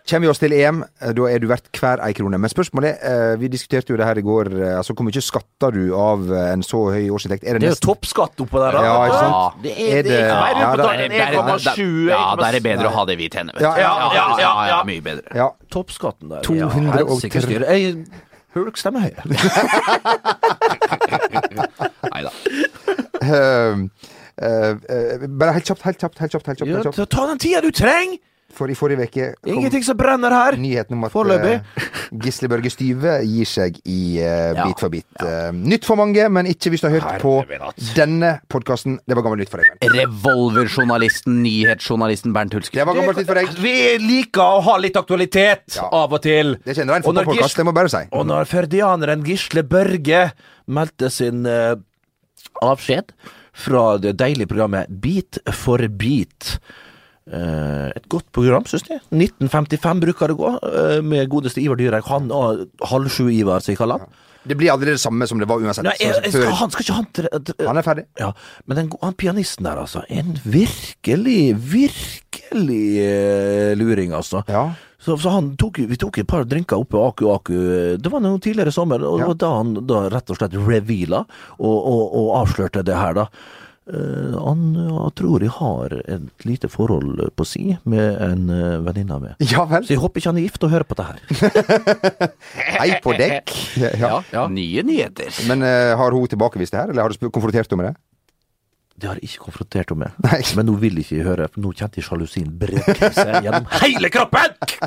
Speaker 2: Kommer vi oss til EM, eh, da er du verdt hver ei krone. Men spørsmålet er, eh, vi diskuterte jo det her i går, eh, altså hvor mye skatter du av eh, en så høy årsinntekt? Er
Speaker 3: Det
Speaker 2: det
Speaker 3: er jo
Speaker 2: nesten
Speaker 3: toppskatt oppå der. da.
Speaker 2: Ja, ikke sant?
Speaker 3: Det er, det er,
Speaker 2: Er det- Ja,
Speaker 3: ikke
Speaker 2: da-
Speaker 3: mer enn
Speaker 4: Der er- der er-
Speaker 3: 1,7,
Speaker 4: ja, da er det
Speaker 3: 1,7.
Speaker 4: bedre å ha det vi tjener, vet du.
Speaker 2: Ja, ja,
Speaker 3: ja, ja, ja.
Speaker 4: Mye bedre.
Speaker 2: Ja.
Speaker 3: Toppskatten der.
Speaker 2: 230.
Speaker 3: Helsike styre. Jeg- Hulk stemmer høyre.
Speaker 4: Nei da.
Speaker 2: eh, eh, eh, bare helt kjapt, helt kjapt, helt kjapt. Helt kjapt,
Speaker 3: Ja,
Speaker 2: helt kjapt.
Speaker 3: ta- ta den tida du trenger!
Speaker 2: For i forrige uke kom
Speaker 3: Ingenting som brenner her.
Speaker 2: nyheten om at
Speaker 3: Foreløpig.
Speaker 2: eh, Gisle Børge Styve gir seg i eh,
Speaker 4: Ja.
Speaker 2: Bit for bit. Eh, nytt for mange, men ikke hvis du har hørt på denne podkasten. Det var gammelt nytt for deg. Bernt.
Speaker 4: Revolverjournalisten, nyhetsjournalisten Bernt Hulsker.
Speaker 2: Det var gammelt nytt for deg.
Speaker 3: Vi liker å ha litt aktualitet
Speaker 2: Ja.
Speaker 3: av og til.
Speaker 2: Det er ikke en rein
Speaker 3: Og når
Speaker 2: fotballpodkast,
Speaker 3: Gisle-
Speaker 2: det må jeg bare si.
Speaker 3: Og når førdianeren Gisle Børge meldte sin eh, avskjed fra det deilige programmet Bit for bit eh, et godt program, syns jeg. 1955 bruker det gå, eh, med godeste Ivar Dyrek. Han og halv sju-Ivar, som jeg kaller han.
Speaker 2: Det blir aldri det samme som det var uansett.
Speaker 3: Nei, jeg,
Speaker 2: Sånn
Speaker 3: jeg,
Speaker 2: som
Speaker 3: skal,
Speaker 2: før.
Speaker 3: han skal ikke han tre- tre-
Speaker 2: Han er ferdig.
Speaker 3: ja, men den, han pianisten der, altså. En virkelig, virkelig eh, luring, altså.
Speaker 2: Ja.
Speaker 3: Så, så han tok, jo- vi tok et par drinker oppe i Aku Aku. Det var noe tidligere i sommer, og det var da han da rett og slett reveala og, og, og avslørte det her, da. Eh, han ja, tror jeg har et lite forhold på si med en eh, venninne av meg.
Speaker 2: Ja vel.
Speaker 3: Så jeg håper ikke han er gift og hører på det her.
Speaker 2: Hei på dekk. Ja.
Speaker 4: Nye nyheter.
Speaker 2: Men eh, har hun tilbakevist det her, eller har du sp- konfrontert henne med det?
Speaker 3: Det har jeg ikke konfrontert henne med.
Speaker 2: Nei.
Speaker 3: Men nå vil ikke jeg høre, for nå kjente jeg sjalusien brette seg gjennom hele kroppen!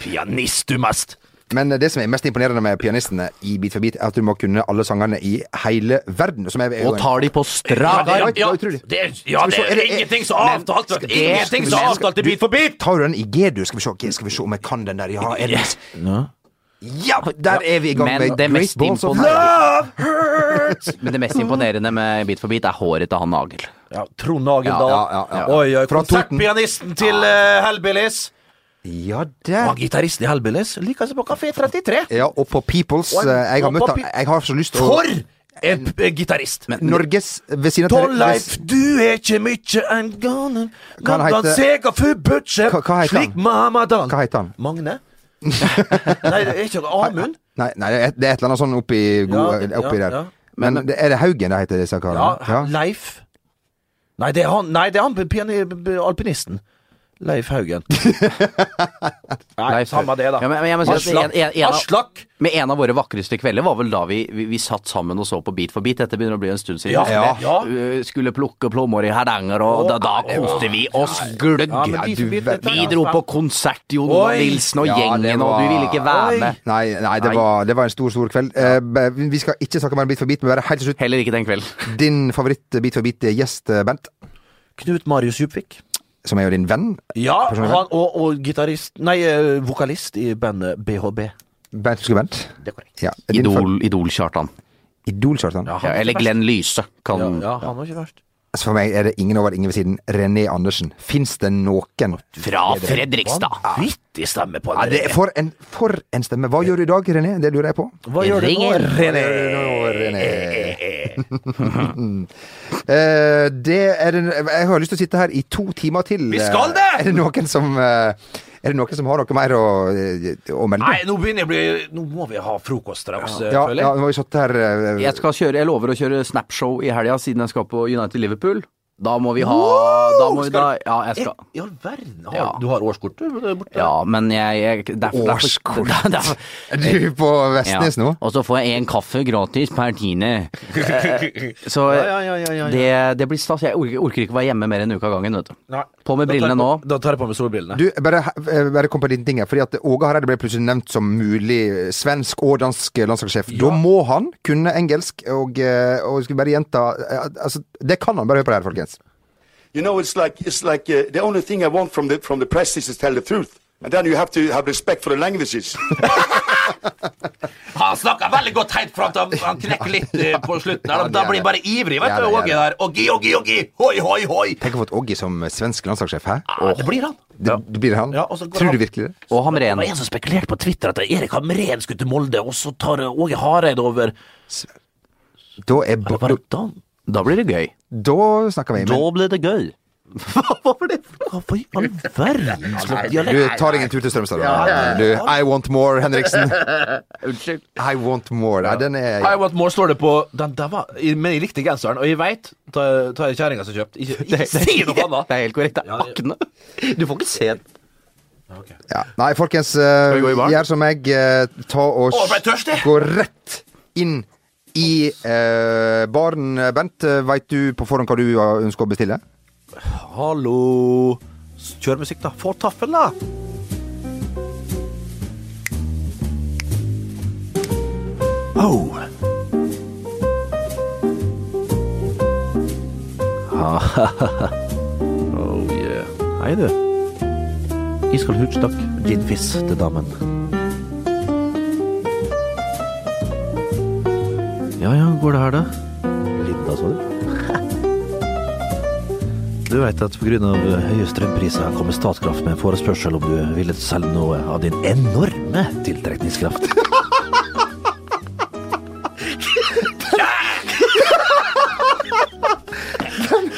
Speaker 3: Pianist, du mest!
Speaker 2: Men eh, det som er mest imponerende med pianistene i Beat for beat, er at du må kunne alle sangene i hele verden. Som er, er jo
Speaker 4: Og
Speaker 2: en-
Speaker 4: tar de
Speaker 3: Ja,
Speaker 4: på straka.
Speaker 3: det,
Speaker 2: Ja,
Speaker 3: ja,
Speaker 2: det var utrolig.
Speaker 3: det, er- ja,
Speaker 2: Skal vi
Speaker 3: det
Speaker 2: se, er
Speaker 3: er
Speaker 2: det- er-
Speaker 3: ingenting som er avtalt! vet du.
Speaker 4: det-
Speaker 3: Ingenting som er avtalt i bit for bit!
Speaker 2: Tar du den i G, du? Skal vi se, G, skal vi se om jeg kan den der. Ja, er det Ja, der er vi i gang
Speaker 4: Men
Speaker 2: med Great
Speaker 4: det mest
Speaker 2: Balls of
Speaker 4: imponerende-
Speaker 2: Fire.
Speaker 4: Men det mest imponerende med Bit for bit er håret til han Nagel.
Speaker 3: Ja, Trond Hagendal.
Speaker 2: Ja, ja, ja, ja.
Speaker 3: Oi, oi,
Speaker 2: Fra Toten.
Speaker 3: konsertpianisten til uh, Hellbillies.
Speaker 2: Ja,
Speaker 3: Og
Speaker 2: der.
Speaker 3: gitaristen i Hellbillies liker seg på Kafé 33.
Speaker 2: Ja, og på Peoples.
Speaker 3: Og-
Speaker 2: eh, Jeg har
Speaker 3: og
Speaker 2: møtt
Speaker 3: på
Speaker 2: han.
Speaker 3: Pe-
Speaker 2: Jeg har så lyst til å
Speaker 3: For en p- gitarist!
Speaker 2: Norges ved siden av
Speaker 3: Torleif, du er ikke mykje en ganen
Speaker 2: Hva han heter-
Speaker 3: Sega for butcher
Speaker 2: Hva- hva heter han?
Speaker 3: Slik Mamadal
Speaker 2: Hva heter han?
Speaker 3: Magne? Nei, det er ikke Amund
Speaker 2: Nei, nei, det er et det er et eller annet sånn oppi, gode,
Speaker 3: Ja,
Speaker 2: oppi
Speaker 3: ja,
Speaker 2: der.
Speaker 3: ja.
Speaker 2: Men det, er det Haugen det heter, disse
Speaker 3: Ja,
Speaker 2: karene? Ja.
Speaker 3: Leif Nei, det er han, nei, det er han piani- alpinisten Leif Haugen. Nei, samme det, da.
Speaker 4: Ja, men, men jeg må si at en, en, en, av,
Speaker 3: Aslak!
Speaker 4: men en av våre vakreste kvelder var vel da vi, vi, vi satt sammen og så på Beat for beat. Dette begynner å bli en stund siden.
Speaker 3: Ja,
Speaker 4: Skulle-
Speaker 3: ja.
Speaker 4: uh, Skulle plukke plommer i Hardanger, og da, da koste vi oss gløgg.
Speaker 3: Ja, men Beat for Beat, dette er
Speaker 4: vi dro
Speaker 3: altså-
Speaker 4: på konsert, Jon
Speaker 3: Oi.
Speaker 4: Olav Nilsen og
Speaker 2: Ja, det
Speaker 4: gjengen, og
Speaker 2: var-
Speaker 4: du ville ikke være
Speaker 3: Oi.
Speaker 4: med.
Speaker 2: Nei, nei det,
Speaker 4: Nei.
Speaker 2: Var, det var en stor, stor kveld. Eh, be- vi skal ikke snakke mer om Bit for bit, men bare helt til slutt.
Speaker 4: Heller ikke den kvelden.
Speaker 2: Din favoritt-Bit for bit-gjest, Bent,
Speaker 3: Knut Marius Djupvik.
Speaker 2: som er jo din venn.
Speaker 3: Ja,
Speaker 2: Personlig
Speaker 3: han, og, og gitarist Nei, eh, vokalist i bandet BHB.
Speaker 2: Bent husker du Bent.
Speaker 3: Det er korrekt.
Speaker 2: Ja, din fa-
Speaker 4: Idol, Idol-Kjartan.
Speaker 2: Idol, Kjartan.
Speaker 3: Ja, han
Speaker 4: Ja,
Speaker 3: var ikke
Speaker 4: eller
Speaker 3: verst.
Speaker 4: Glenn Lyse. Kan,
Speaker 2: Mm.
Speaker 3: Ja, ja, han var ikke verst.
Speaker 2: Altså, for meg er det ingen over, ingen ved siden. René Andersen. Fins det noen?
Speaker 4: Fra Fredrikstad.
Speaker 3: Vittig stemme på
Speaker 2: Ja,
Speaker 3: han.
Speaker 2: det er for, en, for en stemme. Hva gjør du i dag, René? Det lurer jeg på.
Speaker 3: Hva gjør du nå,
Speaker 4: Ringen.
Speaker 3: René? eh,
Speaker 2: Eh, det er en, jeg har lyst til å sitte her i to timer til.
Speaker 3: Vi skal det!
Speaker 2: Eh, Er det noen som, eh, er det noen som har noe mer å, eh, å melde?
Speaker 3: Nei, nå begynner jeg å bli Nå må vi ha frokost straks, eh,
Speaker 2: ja,
Speaker 3: føler
Speaker 2: ja,
Speaker 3: jeg.
Speaker 2: nå har vi sittet her eh,
Speaker 4: Jeg, skal kjøre, jeg lover å kjøre Snapshow i helga, siden jeg skal på United Liverpool. Da må vi ha da må vi, da, Ja, jeg skal
Speaker 3: I all verden! Har,
Speaker 4: Ja.
Speaker 3: Du har årskort, du? det er Borte.
Speaker 4: Ja, men jeg, jeg derfor,
Speaker 2: Årskort.
Speaker 4: Derfor, derfor,
Speaker 2: Er du på Vestnes nå?
Speaker 4: Og så får jeg en kaffe gratis per tiende. Eh, Så
Speaker 3: Ja, ja, ja, ja, ja, ja.
Speaker 4: Det, det blir stas. Jeg orker, orker ikke være hjemme mer enn en uke av gangen, vet du.
Speaker 3: Nei.
Speaker 4: På med
Speaker 3: Da tar jeg
Speaker 4: brillene
Speaker 3: på-
Speaker 4: nå.
Speaker 3: Da tar jeg på meg solbrillene.
Speaker 2: Du, bare, eh, bare kom på din ting her, fordi at Åge Hareide ble plutselig nevnt som mulig svensk og dansk landslagssjef. Da må han kunne engelsk, og, eh, og jeg skulle bare gjenta eh, altså, Det kan han, bare hør på det her, folkens.
Speaker 8: You know, it's like it's like uh, the only thing I want from the from the press is to tell the truth, and then you have to have respect for the languages.
Speaker 3: Han snakker veldig godt helt fram til han- han knekker litt eh, på slutten. her,
Speaker 2: Ja,
Speaker 3: da- Da
Speaker 2: det er
Speaker 3: blir han bare
Speaker 2: det.
Speaker 3: ivrig,
Speaker 2: Ja,
Speaker 3: vet du.
Speaker 2: det er
Speaker 3: Åge
Speaker 2: det.
Speaker 3: der. Ågi, ågi, ågi! Hoi, hoi, hoi!
Speaker 2: Tenk å få et Åge som svensk landslagssjef, hæ?
Speaker 3: Ja, det blir han.
Speaker 2: Det, det blir han?
Speaker 3: Ja, og så går
Speaker 2: Tror
Speaker 3: han-
Speaker 2: du virkelig det?
Speaker 4: Og
Speaker 3: Det
Speaker 4: Hamren.
Speaker 3: var en som spekulerte på Twitter at Erik Hamren skulle til Molde, og så tar Åge Hareide over.
Speaker 2: Da, er,
Speaker 3: Eller var
Speaker 2: da,
Speaker 3: det Dan?
Speaker 4: Da blir det gøy.
Speaker 2: da snakker vi.
Speaker 4: Da
Speaker 2: Men
Speaker 4: blir det gøy.
Speaker 3: Hva var det? Hva var i all verden slags
Speaker 2: du
Speaker 3: dialekt?
Speaker 2: tar ingen tur til Strømstad? da. Du, I want more, Henriksen.
Speaker 4: Unnskyld.
Speaker 2: I want more. Nei, den er
Speaker 3: I Want More står det på den der var, i- Men jeg likte genseren, og jeg veit Ta ta ei kjerringa som kjøpte. Ikke, ikke si noe annet!
Speaker 4: Det er helt korrekt. Det
Speaker 3: Ja,
Speaker 4: er
Speaker 3: det-
Speaker 4: akne. Du får ikke se den.
Speaker 2: ja. Nei, folkens, eh,
Speaker 4: vi gå i baren?
Speaker 2: gjør som meg. eh, ta og
Speaker 3: Å, jeg ble tørst, jeg.
Speaker 2: gå rett inn i eh, baren. Bent, eh, veit du på forhånd hva du eh, ønsker å bestille?
Speaker 3: Hallo Kjør musikk, da. Få taffel, da! Oh. oh yeah. Hei, du. Iskald hudstokk, ginfiss til damen. Ja ja, går det her, da? Linda, sa du? Du vet at pga. eh, høye strømpriser kommer Statkraft med en forespørsel om du ville selge noe av din enorme tiltrekningskraft.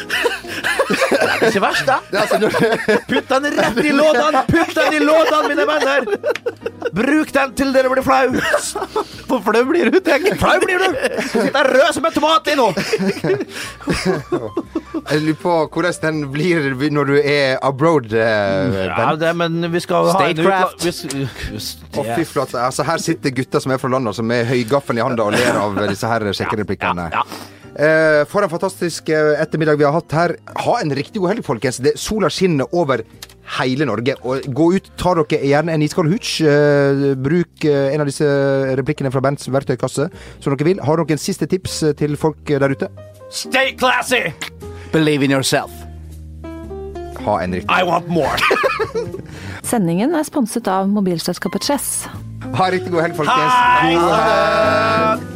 Speaker 3: Det er ikke verst, da. Putt den rett i lådene! Putt den i lådene, mine venner! Bruk den til dere blir flau. For flau blir du, tenk. Flau blir du! Sitter rød som en tomat i nå.
Speaker 2: Jeg lurer på hvordan den blir når du er abroad, eh,
Speaker 3: Ja,
Speaker 2: Bent.
Speaker 3: det, men vi skal ha en
Speaker 4: Statecraft.
Speaker 3: utla- vi s- Just-
Speaker 2: Å, fy flate. Altså, her sitter gutter som er fra landet, som med høygaffelen i handa og ler av disse her kjekke replikkene. Eh, for en fantastisk eh, ettermiddag vi har hatt her. Ha en riktig god helg, folkens. Det, sola skinner over hele Norge. Og gå ut, ta dere gjerne en iskald hooch. Eh, bruk eh, en av disse replikkene fra Bents verktøykasse som dere vil. Har dere en siste tips eh, til folk eh, der ute?
Speaker 3: Stay classy!
Speaker 4: Believe in yourself.
Speaker 2: Ha en riktig,
Speaker 3: I want more!
Speaker 1: Sendingen er sponset av mobilselskapet Chess.
Speaker 2: ha en riktig god helg, folkens. God helg.